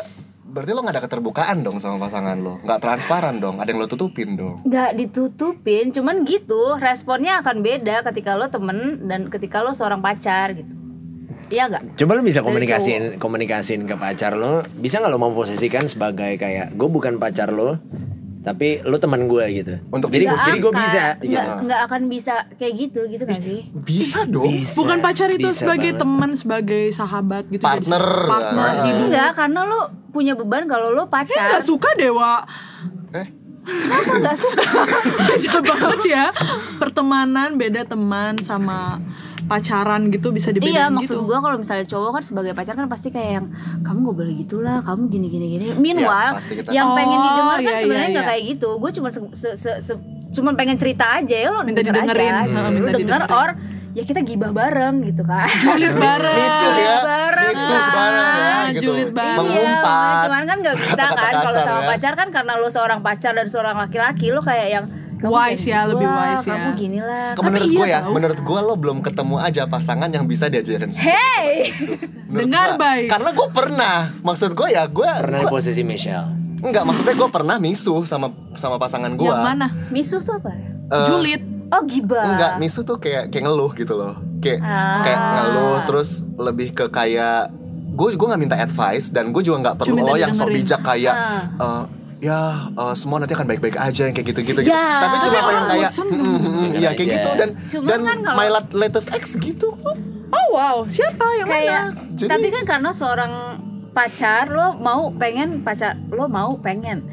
berarti lo nggak ada keterbukaan dong sama pasangan lo, nggak transparan dong, ada yang lo tutupin dong.
nggak ditutupin cuman gitu responnya akan beda ketika lo temen dan ketika lo seorang pacar gitu iya nggak
Coba lu bisa
Dari
komunikasiin komunikasiin ke pacar lo, bisa nggak lo memposisikan sebagai kayak gue bukan pacar lo, tapi lo teman gue gitu.
Untuk
jadi
diskusi.
jadi gue
akan.
bisa.
nggak
gitu.
nggak akan bisa kayak gitu gitu kan sih
Bisa dong.
Bisa,
Bukan pacar itu
bisa
sebagai
banget.
teman, sebagai sahabat gitu. jadi
Partner.
partner
Ah.
gitu.
Enggak, karena lo punya beban kalau lo
Iya
pacar
Gak suka dewa.
Eh,
Kenapa nggak suka?
Beda banget ya. Pertemanan beda teman sama pacaran gitu bisa dibedain
iya
gitu.
maksud gua kalau misalnya cowok kan sebagai pacar kan pasti kayak yang kamu gak boleh gitulah kamu gini gini gini
Iya,
meanwhile
Ya, pasti kita-
yang pengen
Oh,
didengar kan
iya,
sebenarnya
iya,
nggak
iya.
kayak gitu gue cuma se- se- se- se- cuman pengen cerita aja ya lo
Minta
denger
didengerin. Hmm.
aja lo
Minta
denger
didengerin.
or ya kita gibah bareng gitu kan
Julid bareng. Ah,
Misuh ya,
bareng,
misuh
kan.
bareng gitu.
Julid bareng.
Mengumpat.
Iya, cuman kan nggak bisa
Kata-kata
kan kalau
kasar
sama
ya.
pacar kan karena lo seorang pacar dan seorang laki-laki lo kayak yang kamu
Wise
jangan
ya,
gitu
lebih
lah,
wise ya.
Kamu gini lah.
Ke- menurut
Tapi
gue
iya
ya,
tau.
menurut gue lo belum ketemu aja pasangan yang bisa diajarin.
Hey,
Menurut
Dengar
gua.
baik.
Karena gue pernah, maksud gue ya gue
Pernah di posisi Michelle.
Enggak, maksudnya gue pernah misuh sama sama pasangan gue.
Yang mana?
misuh tuh apa?
Eh,
Julid.
Oh gibah.
Enggak, misu tuh kayak kayak ngeluh gitu loh. Kayak
Ah.
kayak ngeluh terus lebih ke kayak gue gue nggak minta advice dan gue juga nggak perlu
Cuma minta
lo yang sok
didengerin.
bijak kayak
Ah.
eh, ya eh, semua nanti akan baik-baik aja yang kayak gitu-gitu gitu.
Ya.
Tapi cuma
Tapi
pengen
orang
kayak
bosen.
"Mm, mm, mm," ya kayak
aja.
gitu dan
Cuman
dan
kan kalau-
my lat- latest ex gitu.
Oh wow, siapa yang
Kayak
mana?
Iya, Jadi-
tapi kan karena seorang pacar lo mau pengen pacar lo mau pengen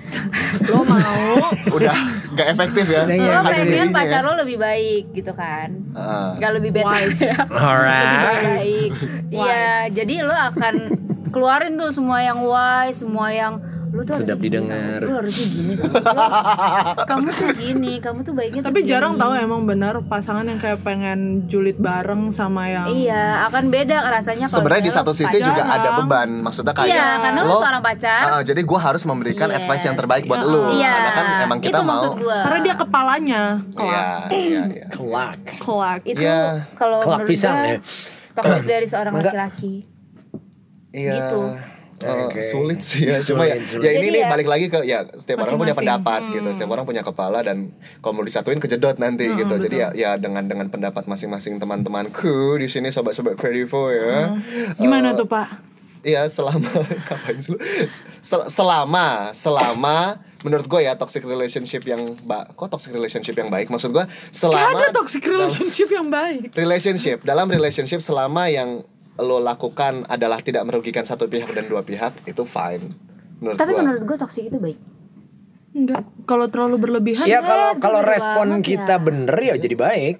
Lo mau
Udah nggak efektif ya.
Udah,
lo
Iya,
Ada
pengen
dirinya
pacar
ya.
lo lebih baik gitu kan
Ah.
nggak lebih better ya
Alright.
lebih baik iya jadi lo akan keluarin tuh semua yang wise semua yang lo tuh harusnya
Sedap
gini,
didengar.
lo harusnya gini lo, kamu tuh gini kamu tuh baiknya tuh
Tapi
gini.
jarang ya. tahu emang benar pasangan yang kayak pengen julid bareng sama yang
iya akan beda rasanya kalau
Sebenarnya di
misalnya
satu
lo
sisi juga
pacaran.
ada beban. Maksudnya kayak
Iya, karena lo seorang pacar.
Ah, jadi gue harus memberikan
Yes.
advice yang terbaik buat lo.
Iya,
Karena kan emang kita
itu
mau.
maksud gua.
karena dia kepalanya
Iya,
kelak.
iya, iya.
Kelak.
Kelak.
itu
Iya.
kalau
Kelak
menurut
pisang
gua,
ya.
toxic dari seorang
Mangga.
laki-laki
Iya.
Gitu.
Eh,
Oke.
sulit sih ya cuma ya,
Sulit, sulit.
ya ini
Jadi
nih
ya, Hmm.
balik lagi ke ya setiap orang punya
masing-masing.
pendapat gitu setiap orang punya kepala dan kalau mau disatuin kejedot nanti gitu jadi ya ya dengan dengan pendapat masing-masing teman-temanku di sini sobat-sobat Credivo ya
Hmm.
Gimana tuh, Pak?
Iya selama ngapain sih lu? Sel- selama selama menurut gue ya toxic relationship yang ba kok toxic relationship yang baik maksud gue
Gak
selama
ada toxic relationship yang baik.
relationship dalam relationship selama yang lo lakukan adalah tidak merugikan satu pihak dan dua pihak itu fine menurut
tapi
gua.
menurut gue toxic itu baik
Enggak, kalau terlalu berlebihan
Ya kalau
bener
kalau respon
banget ya.
kita bener ya jadi baik.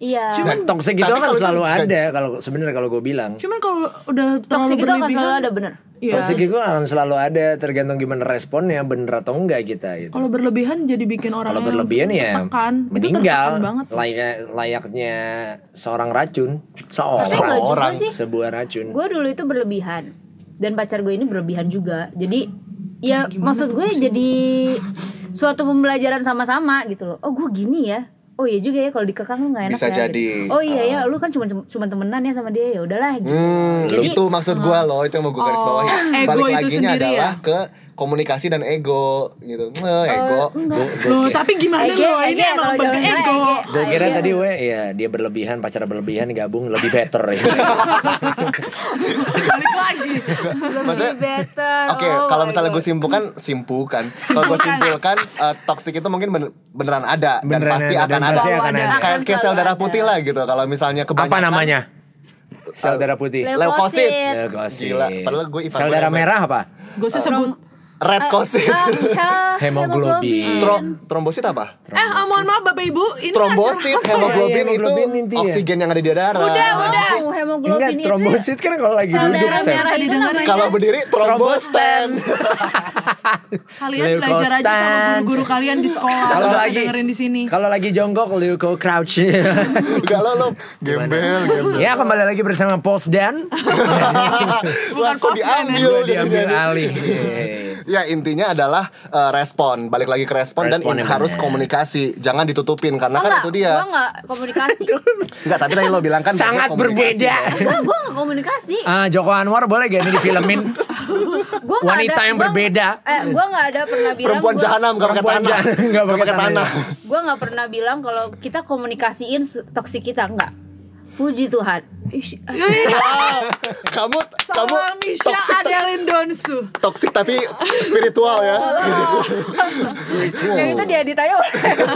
iya
Dan toxic itu
Kan tapi kalau
akan
itu kan
selalu
nggak-
ada kalau sebenarnya kalau gue bilang.
Cuman kalau udah terlalu
toxic itu
berlebihan,
akan selalu ada bener
Iya.
Toxic itu akan selalu ada tergantung gimana responnya bener atau enggak kita gitu.
Kalau berlebihan jadi bikin orang
Kalau berlebihan ya
tertekan. Itu
meninggal
tertekan banget.
layak, layaknya seorang racun seorang
tapi nggak juga
orang
sih
sebuah racun
gue dulu itu berlebihan dan pacar gue ini berlebihan juga jadi ya maksud gue jadi suatu pembelajaran sama-sama gitu loh oh gue gini ya oh iya juga ya kalau dikekang lu nggak enak
Bisa
ya, gitu.
jadi. Ah.
oh iya ya lu kan cuma cuma temenan ya sama dia ya udahlah gitu.
Hmm,
Jadi-
itu maksud gua loh, itu yang mau gue garis bawahi.
Oh, ego
Balik
itu
laginya
sendiri
adalah
ya? Oh,
ke komunikasi dan ego gitu. Eh, ego. Gua- gua-
Loh, tapi gimana
Ege,
lo ini
Ege,
emang
kalau
pada
jangan salah,
ego.
Ege.
Gue kira
Iya.
tadi gue ya dia berlebihan pacar berlebihan gabung lebih better ya.
Balik lagi.
Lebih
Maksudnya-
better.
Oke,
Oh
kalau
my
misalnya gue
God.
simpulkan, simpulkan. Kalau gue simpulkan, eh, toxic itu mungkin bener- beneran ada dan
Beneran
pasti
ada,
akan
dan
ada.
pasti akan ada.
Kayak kayak sel
Akan
darah
selalu
putih
ada.
lah gitu. Kalau misalnya kebanyakan
Apa namanya? Sel darah putih.
Leukosit.
Leukosit.
Gila, padahal gue IPA
Sel
gue
darah
hebat.
merah apa?
Gue sih sebut. Eh,
red kosit.
Ah, ah,
Hemoglobin.
Tro- trombosit apa?
Eh, ah, mohon maaf Bapak Ibu, ini
Trombosit,
acara apa ya?
hemoglobin
Iya,
itu
hemoglobin intinya.
oksigen yang ada di darah.
Udah, udah.
Oh,
Enggak,
hemoglobin itu
trombosit kan kalau lagi
sel
duduk
darah
Sel.
merah itu namanya.
Kalau berdiri trombosten.
Kalian belajar aja sama
Leukostan.
guru-guru kalian di sekolah.
Kalau
Nggak
lagi
dengerin di sini.
Kalau lagi jongkok Leuko crouch.
Enggak lo lo gembel, gembel.
ya kembali lagi bersama Pos Dan.
Wah, kok
Bukan
diambil,
Gue diambil
jadinya.
alih.
Ya intinya adalah eh, respon, balik lagi ke respon dan
Respon
in-
yang
harus
benar.
komunikasi, jangan ditutupin karena
Oh,
kan
enggak,
itu dia.
Gua enggak komunikasi.
Enggak, tapi tadi lo bilang kan
Sangat
bagian komunikasi,
berbeda.
Bro.
Enggak, gua enggak komunikasi.
Ah, Joko Anwar boleh gak ini difilmin?
Gua enggak
Wanita
ada-
yang
gua-
berbeda.
Eh, gua enggak ada pernah bilang
Perempuan
gua-
jahanam gak pakai
Perempuan
tanah.
jahanam, nggak pakai tanah.
Gua enggak pernah bilang kalau kita komunikasiin se- toksik kita enggak. Puji Tuhan. Ih,
Wow, kamu kamu
Sama Misha
toxic,
Adeline Donsu.
toxic tapi spiritual ya.
Yang itu dia ditanya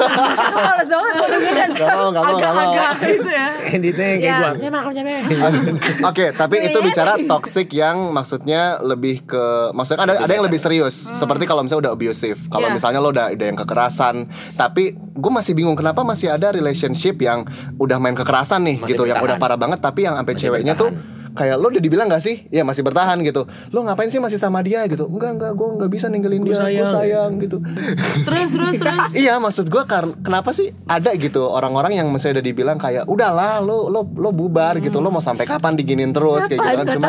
Males banget gua dengerin.
Gak mau, gak mau, gak mau.
Agak-agak gitu ya.
Editnya yang kayak
Ya.
gua.
Oke, tapi itu bicara toxic yang maksudnya lebih ke maksudnya kan ada ada yang lebih serius. Seperti kalau misalnya udah abusive. Kalau
Iya.
misalnya lo udah udah yang kekerasan, tapi gue masih bingung kenapa masih ada relationship yang udah main kekerasan nih
Masih
gitu, yang udah
bertahan.
parah banget tapi yang sampai ceweknya tuh kayak lo udah dibilang gak sih? Ya masih bertahan gitu. Lo ngapain sih masih sama dia gitu? Enggak, enggak, gue nggak bisa ninggalin dia. Gue sayang gitu.
Terus, terus, terus.
Iya maksud gue karena kenapa sih ada gitu orang-orang yang misalnya udah dibilang kayak udahlah lo lo lo bubar
Hmm.
gitu lo mau sampai kapan diginin terus kayak gitu kan cuma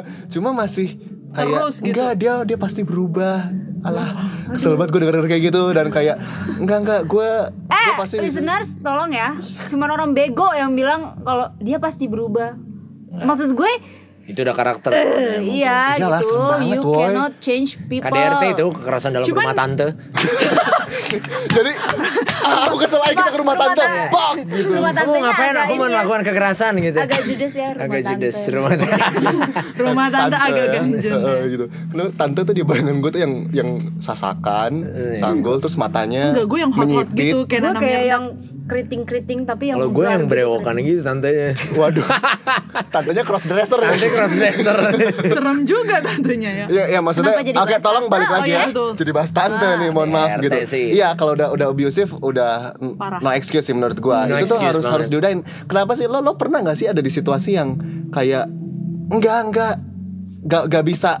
cuma masih kayak
Terus gitu.
enggak dia dia pasti berubah alah kesel banget gue denger kayak gitu dan kayak enggak enggak gue
Eh,
gue pasti
listeners, tolong ya. Cuman orang bego yang bilang kalau dia pasti berubah. Maksud gue,
Itu udah karakter.
eh, iya
Iyalah,
gitu.
serem banget,
You
woy.
cannot change people.
KDRT itu kekerasan dalam
Cuman-
rumah tante.
jadi ah, aku kesel aja kita ke rumah
Rumah
tante
tante.
bang gitu
Rumah
Kamu
tantenya
ngapain?
agak
Aku mau
ini ya.
melakukan kekerasan gitu.
Agak judes ya rumah
Agak
tante.
judes rumah tante.
Rumah tante agak ganjen.
Heeh, gitu. Kenapa tante tuh di bayangan gue tuh yang yang sasakan,
Eh, iya.
sanggol terus matanya
Enggak, gue yang hot-hot
menyipit.
gitu. Kayak
Gue
Nana
kayak
Mirdad.
yang keriting-keriting tapi yang
Kalau gue
bugar
yang
gitu.
berewokan gitu tantenya.
Waduh. Tantenya cross dresser ya.
Tante cross dresser.
Serem juga tentunya ya.
Iya, iya maksudnya
Kenapa jadi
oke
bahas
tolong
tante?
balik
Oh,
lagi
iya,
ya.
betul.
Jadi bahas tante nih, mohon maaf
RT
gitu.
sih.
Iya, kalau udah udah abusive udah n-
Parah.
no excuse sih menurut gua.
No
itu tuh
excuse
harus
banget.
harus diudahin. Kenapa sih lo lo pernah nggak sih ada di situasi yang kayak enggak enggak enggak enggak bisa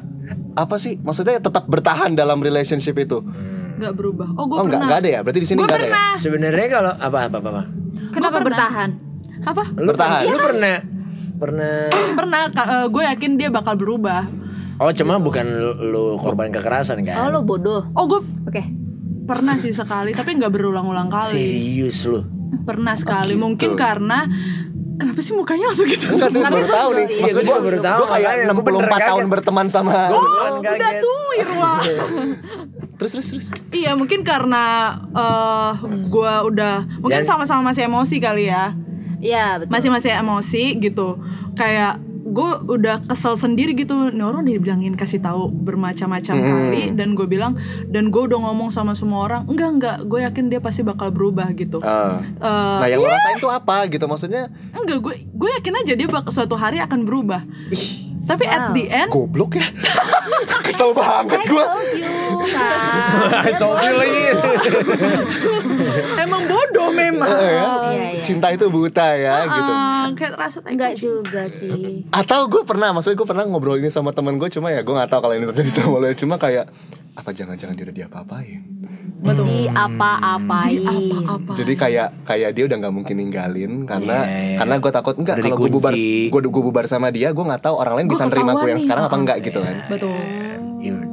apa sih? Maksudnya tetap bertahan dalam relationship itu.
Enggak berubah. Oh, gue
Oh, enggak
pernah.
enggak ada ya? Berarti di sini
Gue
enggak ada ya?
pernah.
Sebenarnya kalau apa apa apa. apa?
Kenapa bertahan?
Apa?
Lu
Bertahan.
Lu pernah pernah
Pernah, gue yakin dia bakal berubah.
Oh, cuma
Gitu.
bukan lu- lu korban kekerasan
Oh
kan?
lo bodoh.
Oh, gue
Oke.
pernah sih sekali, tapi nggak berulang-ulang kali.
Serius lu.
Pernah
Oh,
sekali,
gitu.
mungkin karena kenapa sih mukanya langsung gitu?
Enggak sih, baru
gua
tahu
juga
nih.
iya,
Maksud
gua
gua,
juga baru tahu,
gua kayak
makanya gua bener
64 tahun
kaget.
berteman sama
Bukan
Oh, Udah tuh, Irwa.
Terus terus terus.
iya, mungkin karena eh gue udah mungkin
Jangan-
sama-sama masih emosi kali ya.
Iya, betul.
masih masih emosi gitu kayak gue udah kesel sendiri gitu nih orang dibilangin kasih tahu bermacam-macam kali dan gue bilang dan gue udah ngomong sama semua orang enggak enggak gue yakin dia pasti bakal berubah gitu
Ah.
Eh,
Nah yang lo rasain tuh apa gitu maksudnya
enggak gue gue yakin aja dia bak suatu hari akan berubah tapi at the end
Goblok ya Kesel banget gue
told you kan.
I told you lagi.
emang bodoh memang
Iya, iya.
ya. Cinta itu buta ya gitu
Ah, kayak rasa tai
Enggak
kucing.
juga sih.
Atau gue pernah Maksudnya gue pernah ngobrol ini sama temen gue Cuma ya gue gak tahu kalau ini terjadi sama lo ya Cuma kayak Apa jangan-jangan dia udah diapa-apain
Di apa-apain.
apa-apa
Jadi kayak kayak dia udah nggak mungkin ninggalin karena
Iya, iya.
karena gue takut enggak
Udah
kalau gue bubar
dikunci.
gue bubar sama dia gue nggak tahu orang lain
Gua
bisa nerima gue
ketahuan
yang
nih.
sekarang apa
Ah,
enggak gitu kan
betul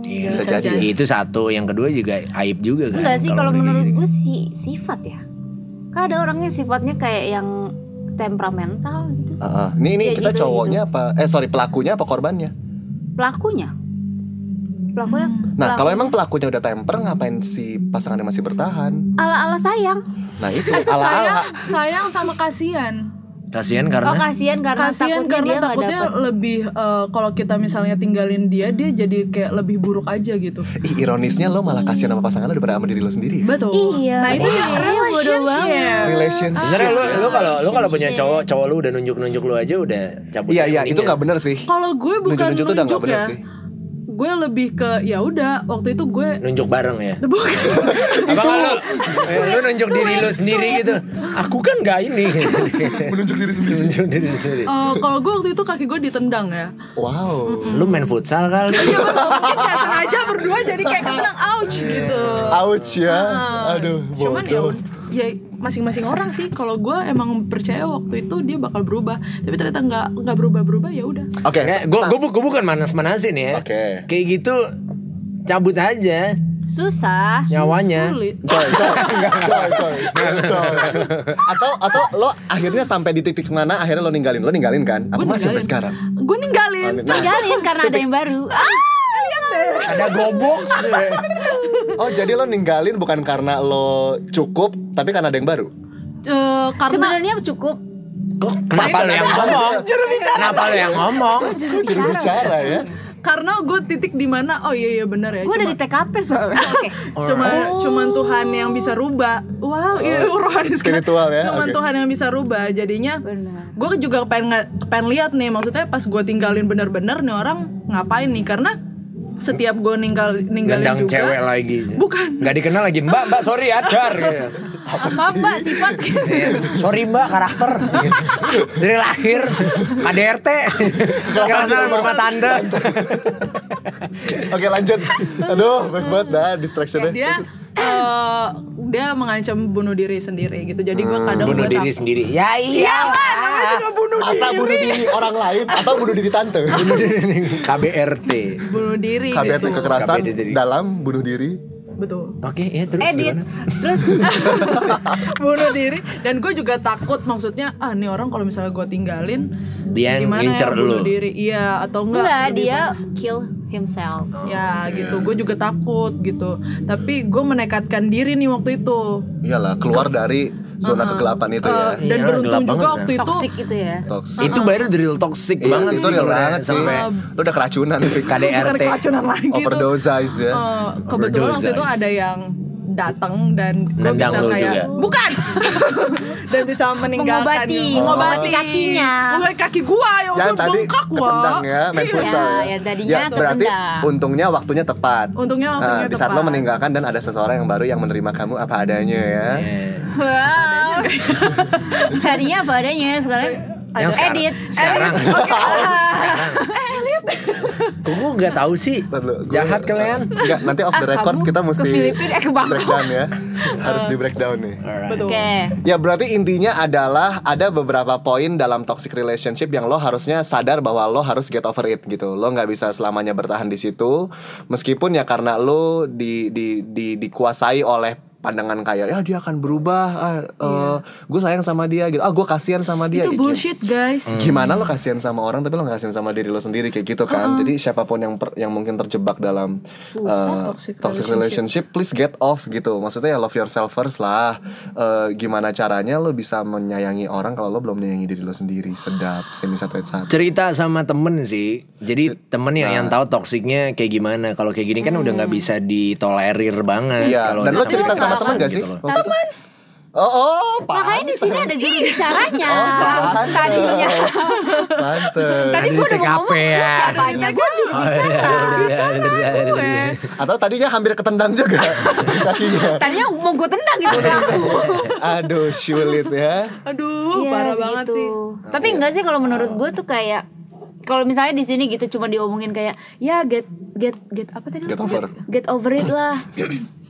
Iya,
Bisa jadi. jadi.
Itu satu, yang kedua juga aib juga kan.
Enggak sih kalau
udah
menurut
gini-gini.
gue sih sifat ya. Kan ada orangnya sifatnya kayak yang temperamental gitu.
Heeh. Ini ini
Ya,
kita
gitu,
cowoknya apa? Eh sorry pelakunya apa korbannya?
Pelakunya. Pelakunya
Hmm.
Nah kalau
Pelakunya.
iya.
emang pelakunya udah temper ngapain si pasangannya masih bertahan?
ala-ala sayang.
Nah itu ala-ala.
Sayang, sayang sama kasihan.
Kasihan
Oh
karena
kasihan karena
Kasihan
takutnya dia
karena
nggak
takutnya
dapet.
lebih eh, kalau kita misalnya tinggalin dia, dia jadi kayak lebih buruk aja gitu.
Ih ironisnya lo malah kasihan sama pasangan lo daripada sama diri lo sendiri. ya?
Betul.
Iya.
Nah, itu yang
Iya, bodoh banget.
relationship.
Relationship.
ya,
ya.
Sebenernya ya, lu, lu kalau lu kalau punya
Relationship.
cowok cowok lu udah nunjuk nunjuk lu aja udah cabut.
Iya
aja ya
iya itu
mendingan.
nggak bener sih.
ya. Kalau gue bukan
Nunjuk-nunjuk tuh udah nggak
nunjuk
bener
ya.
sih.
Gue lebih ke ya udah waktu itu gue
nunjuk bareng ya.
bukan
Apa lu, eh, lu nunjuk diri lu sendiri gitu. Aku kan nggak ini.
Menunjuk diri sendiri.
nunjuk diri sendiri.
Eh,
Oh.
kalau gue waktu itu kaki gue ditendang ya.
Wow.
Lu main futsal kali.
Iya betul. Mungkin nggak sengaja berdua jadi kayak kebelang ouch gitu.
Ouch ya.
Ah,
Aduh.
Cuman ya,
bodoh.
ud- ya masing-masing orang sih. Kalau gue emang percaya waktu itu dia bakal berubah. Tapi ternyata nggak nggak berubah-berubah ya udah.
Oke.
Gue
sa-
gue
sa-
gue bukan manas-manasin ya.
Oke.
Kayak gitu cabut aja
Susah.
Ya.
Iya.
nyawanya.
Sulit.
Coy, coy, coy, coy, coy. Atau atau lo akhirnya sampai di titik mana akhirnya lo ninggalin? Lo ninggalin kan? Aku
Gua
masih sampai
ninggalin.
sekarang.
Gue ninggalin.
Nah,
Tinggalin karena ada yang baru.
Ah,
Ada gobok sih.
oh jadi lo ninggalin bukan karena lo cukup, tapi karena ada yang baru.
Eh, karena
Sebenarnya cukup.
Kok kenapa lu yang ngomong? Kenapa lu yang ngomong?
Lo jadi bicara ya.
karena gue titik di mana oh iya iya benar ya
Gue udah
cuma
di TKP soalnya. Oke.
cuma cuman Tuhan yang bisa rubah wow iya rohani sekali.
spiritual ya,
cuman
oke.
Tuhan yang bisa rubah jadinya
Benar.
gue juga pengen nge- pengen lihat nih maksudnya pas gue tinggalin bener-bener nih orang ngapain nih karena setiap gue ninggal ninggalin
Nendang
juga
cewek lagi.
Bukan.
Nggak dikenal lagi. Mbak, mbak sorry ajar. Gitu.
Apa apa Ah, sifat?
sorry mbak karakter. Gitu. Dari lahir KDRT. Kekerasan
di rumah.
rumah tanda.
Oke lanjut. Aduh, baik banget dah distractionnya.
dia eh, dia mengancam bunuh diri sendiri gitu jadi gue kadang
Hmm, Bunuh
gua
diri
takut.
sendiri. Ya
Iyalah, namanya
iya.
juga bunuh
Masa bunuh diri orang lain atau bunuh diri tante?
KBRT.
bunuh diri
KBRT
gitu.
kekerasan
KBRT diri.
dalam bunuh diri.
betul
Oke, ya terus
Edit.
gimana?
Terus
bunuh diri dan gue juga takut maksudnya ah nih orang kalau misalnya gue tinggalin
Dia yang
gimana
ngincer
ya bunuh
lu.
diri iya atau enggak
enggak
lebih
dia
baik.
kill himself.
ya gitu
Iya.
gue juga takut gitu tapi gue menekatkan diri nih waktu itu
Iyalah, keluar dari zona kegelapan itu ya.
Eh,
Iya,
dan
gelap
beruntung juga
banget
waktu itu
Toxic gitu ya.
Toxic.
Itu baru real toxic
Iya
banget
sih, itu
sih
real
kalau
banget sih.
sampai
Lo udah keracunan fix.
KDR.
bukan
RT.
keracunan lagi tuh.
Overdose ya.
Eh, kebetulan waktu itu
Overdose.
ada yang datang dan gue
Nendang
bisa
lu
kayak
juga.
bukan dan bisa meninggalkan
Mengobati,
gitu.
mengobati kakinya.
Bukan kaki gua yang
Yang
udah
tadi
bengkak gua
ketendang ya main
Iya.
futsal ya.
ya, tadinya
berarti
tertendang.
untungnya waktunya tepat.
Untungnya
Nah,
waktunya
di saat lo
tepat.
meninggalkan dan ada seseorang yang baru yang menerima kamu apa adanya ya.
Iya.
Wow. Tadinya apa adanya sekarang.
Yang sekarang,
Edit.
sekarang. Kok gue nggak tahu sih?
Ntar dulu, gue-
Jahat kalian.
Enggak, nanti off the
Ah,
record
kamu
kita
ke
mesti
Filipina, eh, ke Bangkok.
breakdown ya. Harus di breakdown nih.
betul
Oke.
Ya berarti intinya adalah ada beberapa poin dalam toxic relationship yang lo harusnya sadar bahwa lo harus get over it gitu. Lo nggak bisa selamanya bertahan di situ, meskipun ya karena lo di, di, di, dikuasai oleh pandangan kayak ya dia akan berubah, ah,
Iya.
gue sayang sama dia gitu, ah gue kasihan sama dia.
itu
Ya,
bullshit guys
Hmm.
Gimana lo kasihan sama orang tapi lo nggak kasihan sama diri lo sendiri kayak gitu kan?
Hmm.
Jadi siapapun yang per- yang mungkin terjebak dalam uh,
toxic
toxic relationship, please get off gitu. Maksudnya ya love yourself first lah. Uh, gimana caranya lo bisa menyayangi orang kalau lo belum menyayangi diri lo sendiri? Sedap, semi satu ayat satu.
cerita sama temen sih jadi temennya yang
nah.
tahu toksiknya kayak gimana kalau kayak gini kan udah nggak
Hmm.
bisa ditolerir banget
Iya.
kalau
Dan
udah
lo
sampai
cerita sama
kekerasan
teman gak sih?
gitu loh.
waktu itu? Oh, oh,
Makanya Nah, di sini ada juru bicaranya.
pantes.
Tadinya.
Pantes.
Tadi
Tadi
gue udah mau
TKP
ngomong lu
ya. Iya,
siapanya gue juru bicara.
Iya, Atau tadinya hampir ketendang juga kakinya.
Tadinya mau gue tendang gitu udah aku.
Aduh, sulit ya.
aduh
Iya,
parah banget
gitu.
sih
Tapi enggak sih kalau menurut gue tuh kayak kalau misalnya di sini gitu cuma diomongin kayak ya get get get apa tadi? lu
Get
bilang?
over.
Get over it lah.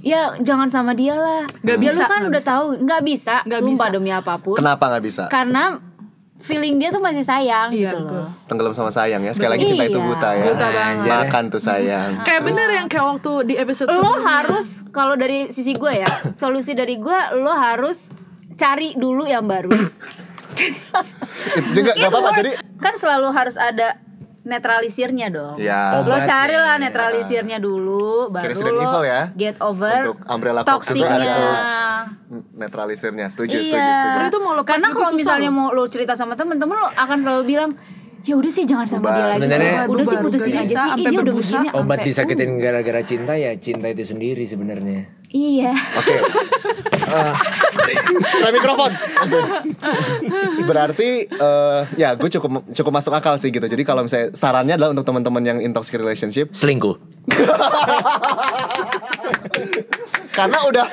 ya jangan sama dia lah.
Nggak
Ya,
bisa,
Lu kan
nggak
udah tahu nggak bisa.
Nggak
sumpah
bisa.
demi apapun.
Kenapa nggak bisa?
Karena feeling dia tuh masih sayang
Iya,
gitu
betul.
loh.
Tenggelam sama sayang ya. Sekali lagi cinta itu
Iya.
buta ya.
Buta banget.
Makan tuh sayang.
Kayak bener yang kayak waktu di episode
Ah, Lo
sebelumnya.
harus kalau dari sisi gue ya, solusi dari gue lo harus cari dulu yang baru.
It juga
It
gak apa-apa
works.
jadi
kan selalu harus ada netralisirnya dong.
Ya.
Lo
Obatnya,
cari lah
ya.
netralisirnya
Kayak
dulu, baru
Resident
lo
Evil ya.
get over
Untuk umbrella toxic
toksiknya.
ada coach. netralisirnya. Setuju, setuju,
iya.
setuju.
Karena itu mau lepas
Karena
juga
kalau
susah
misalnya
loh.
mau lo cerita sama temen-temen lo akan selalu bilang ya udah sih jangan sama
Ubah.
dia lagi.
Sebenarnya-
udah sih
Ubah,
putusin
ubah,
aja
bisa,
sih. Ih,
sampai
dia udah
berbusa.
begini.
Obat
sampai- Hmm? uh.
disakitin gara-gara cinta ya cinta itu sendiri sebenarnya.
Iya.
Oke. Eh, Rem mikrofon. Berarti eh, ya gue cukup cukup masuk akal sih gitu. Jadi kalau misalnya sarannya adalah untuk teman-teman yang in toxic relationship
Selingkuh.
karena udah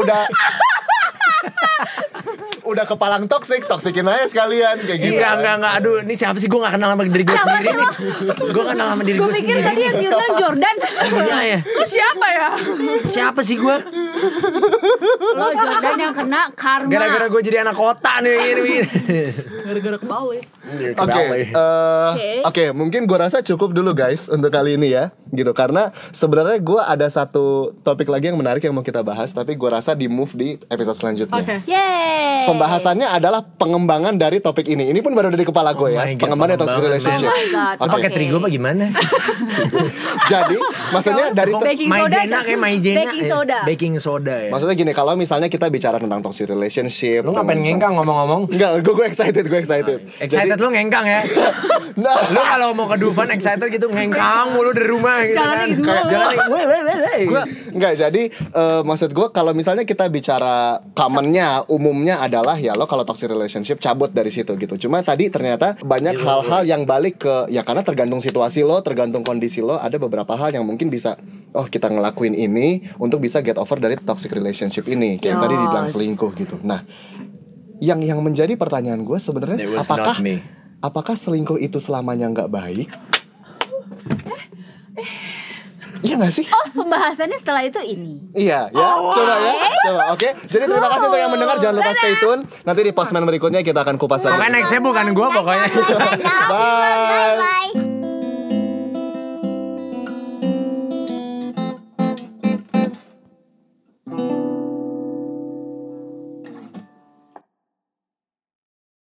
udah udah kepalang toxic, toxikin aja sekalian kayak gitu.
Enggak, enggak, enggak. Aduh, ini siapa sih? Gue gak kenal sama diri gue sendiri nih. Gue kenal sama diri
Gue
gue
pikir
sendiri.
tadi yang diundang Jordan.
Iya ya.
Lu siapa ya?
Siapa sih gue?
lo Jordan Oh, yang kena karma.
Gara-gara gue jadi anak kota nih. Gini, gini. ya?
Gara-gara
ya.
kebalik.
Oke, eh, oke, mungkin gue rasa cukup dulu guys untuk kali ini ya, gitu. Karena sebenarnya gue ada satu topik lagi yang menarik yang mau kita bahas, tapi gue rasa di move di episode selanjutnya.
Oke.
Yeay.
Pembahasannya adalah pengembangan dari topik ini. Ini pun baru dari kepala gue ya.
Oh my God,
pengembangan dari toxic
pengembangan,
relationship.
man. Oh my God,
Lo
Oke.
pakai
Oke.
terigu apa gimana?
Jadi maksudnya dari se-
Baking soda
Maizena
aja.
kayak maizena.
Baking soda.
Eh, Baking soda ya.
maksudnya gini, kalau misalnya kita bicara tentang toxic relationship,
Lu ngapain
tentang-
ngengkang ngomong-ngomong?
Enggak, gue gue excited, gue excited.
Excited lu ngengkang ya?
Nah,
Lu kalau mau ke Dufan excited gitu ngengkang mulu dari rumah gitu
Jalannya
kan.
gitu.
Kayak Jalannya weh weh weh weh.
Gua- nggak jadi eh, maksud gue kalau misalnya kita bicara commonnya umumnya adalah ya lo kalau toxic relationship cabut dari situ gitu cuma tadi ternyata
Iya,
banyak hal-hal yang balik ke ya karena tergantung situasi lo tergantung kondisi lo ada beberapa hal yang mungkin bisa oh kita ngelakuin ini untuk bisa get over dari toxic relationship ini kayak yang tadi dibilang
Yes.
selingkuh gitu nah yang yang menjadi pertanyaan gue sebenarnya
That was
apakah
not me.
apakah selingkuh itu selamanya nggak baik
Eh,
Iya gak sih?
Oh, pembahasannya setelah itu ini.
Iya ya, coba ya, coba oke. Jadi terima kasih untuk yang mendengar, jangan lupa stay tune. Nanti di postman berikutnya kita akan kupas lagi.
Pokoknya nextnya bukan gua pokoknya.
Bye.
Bye.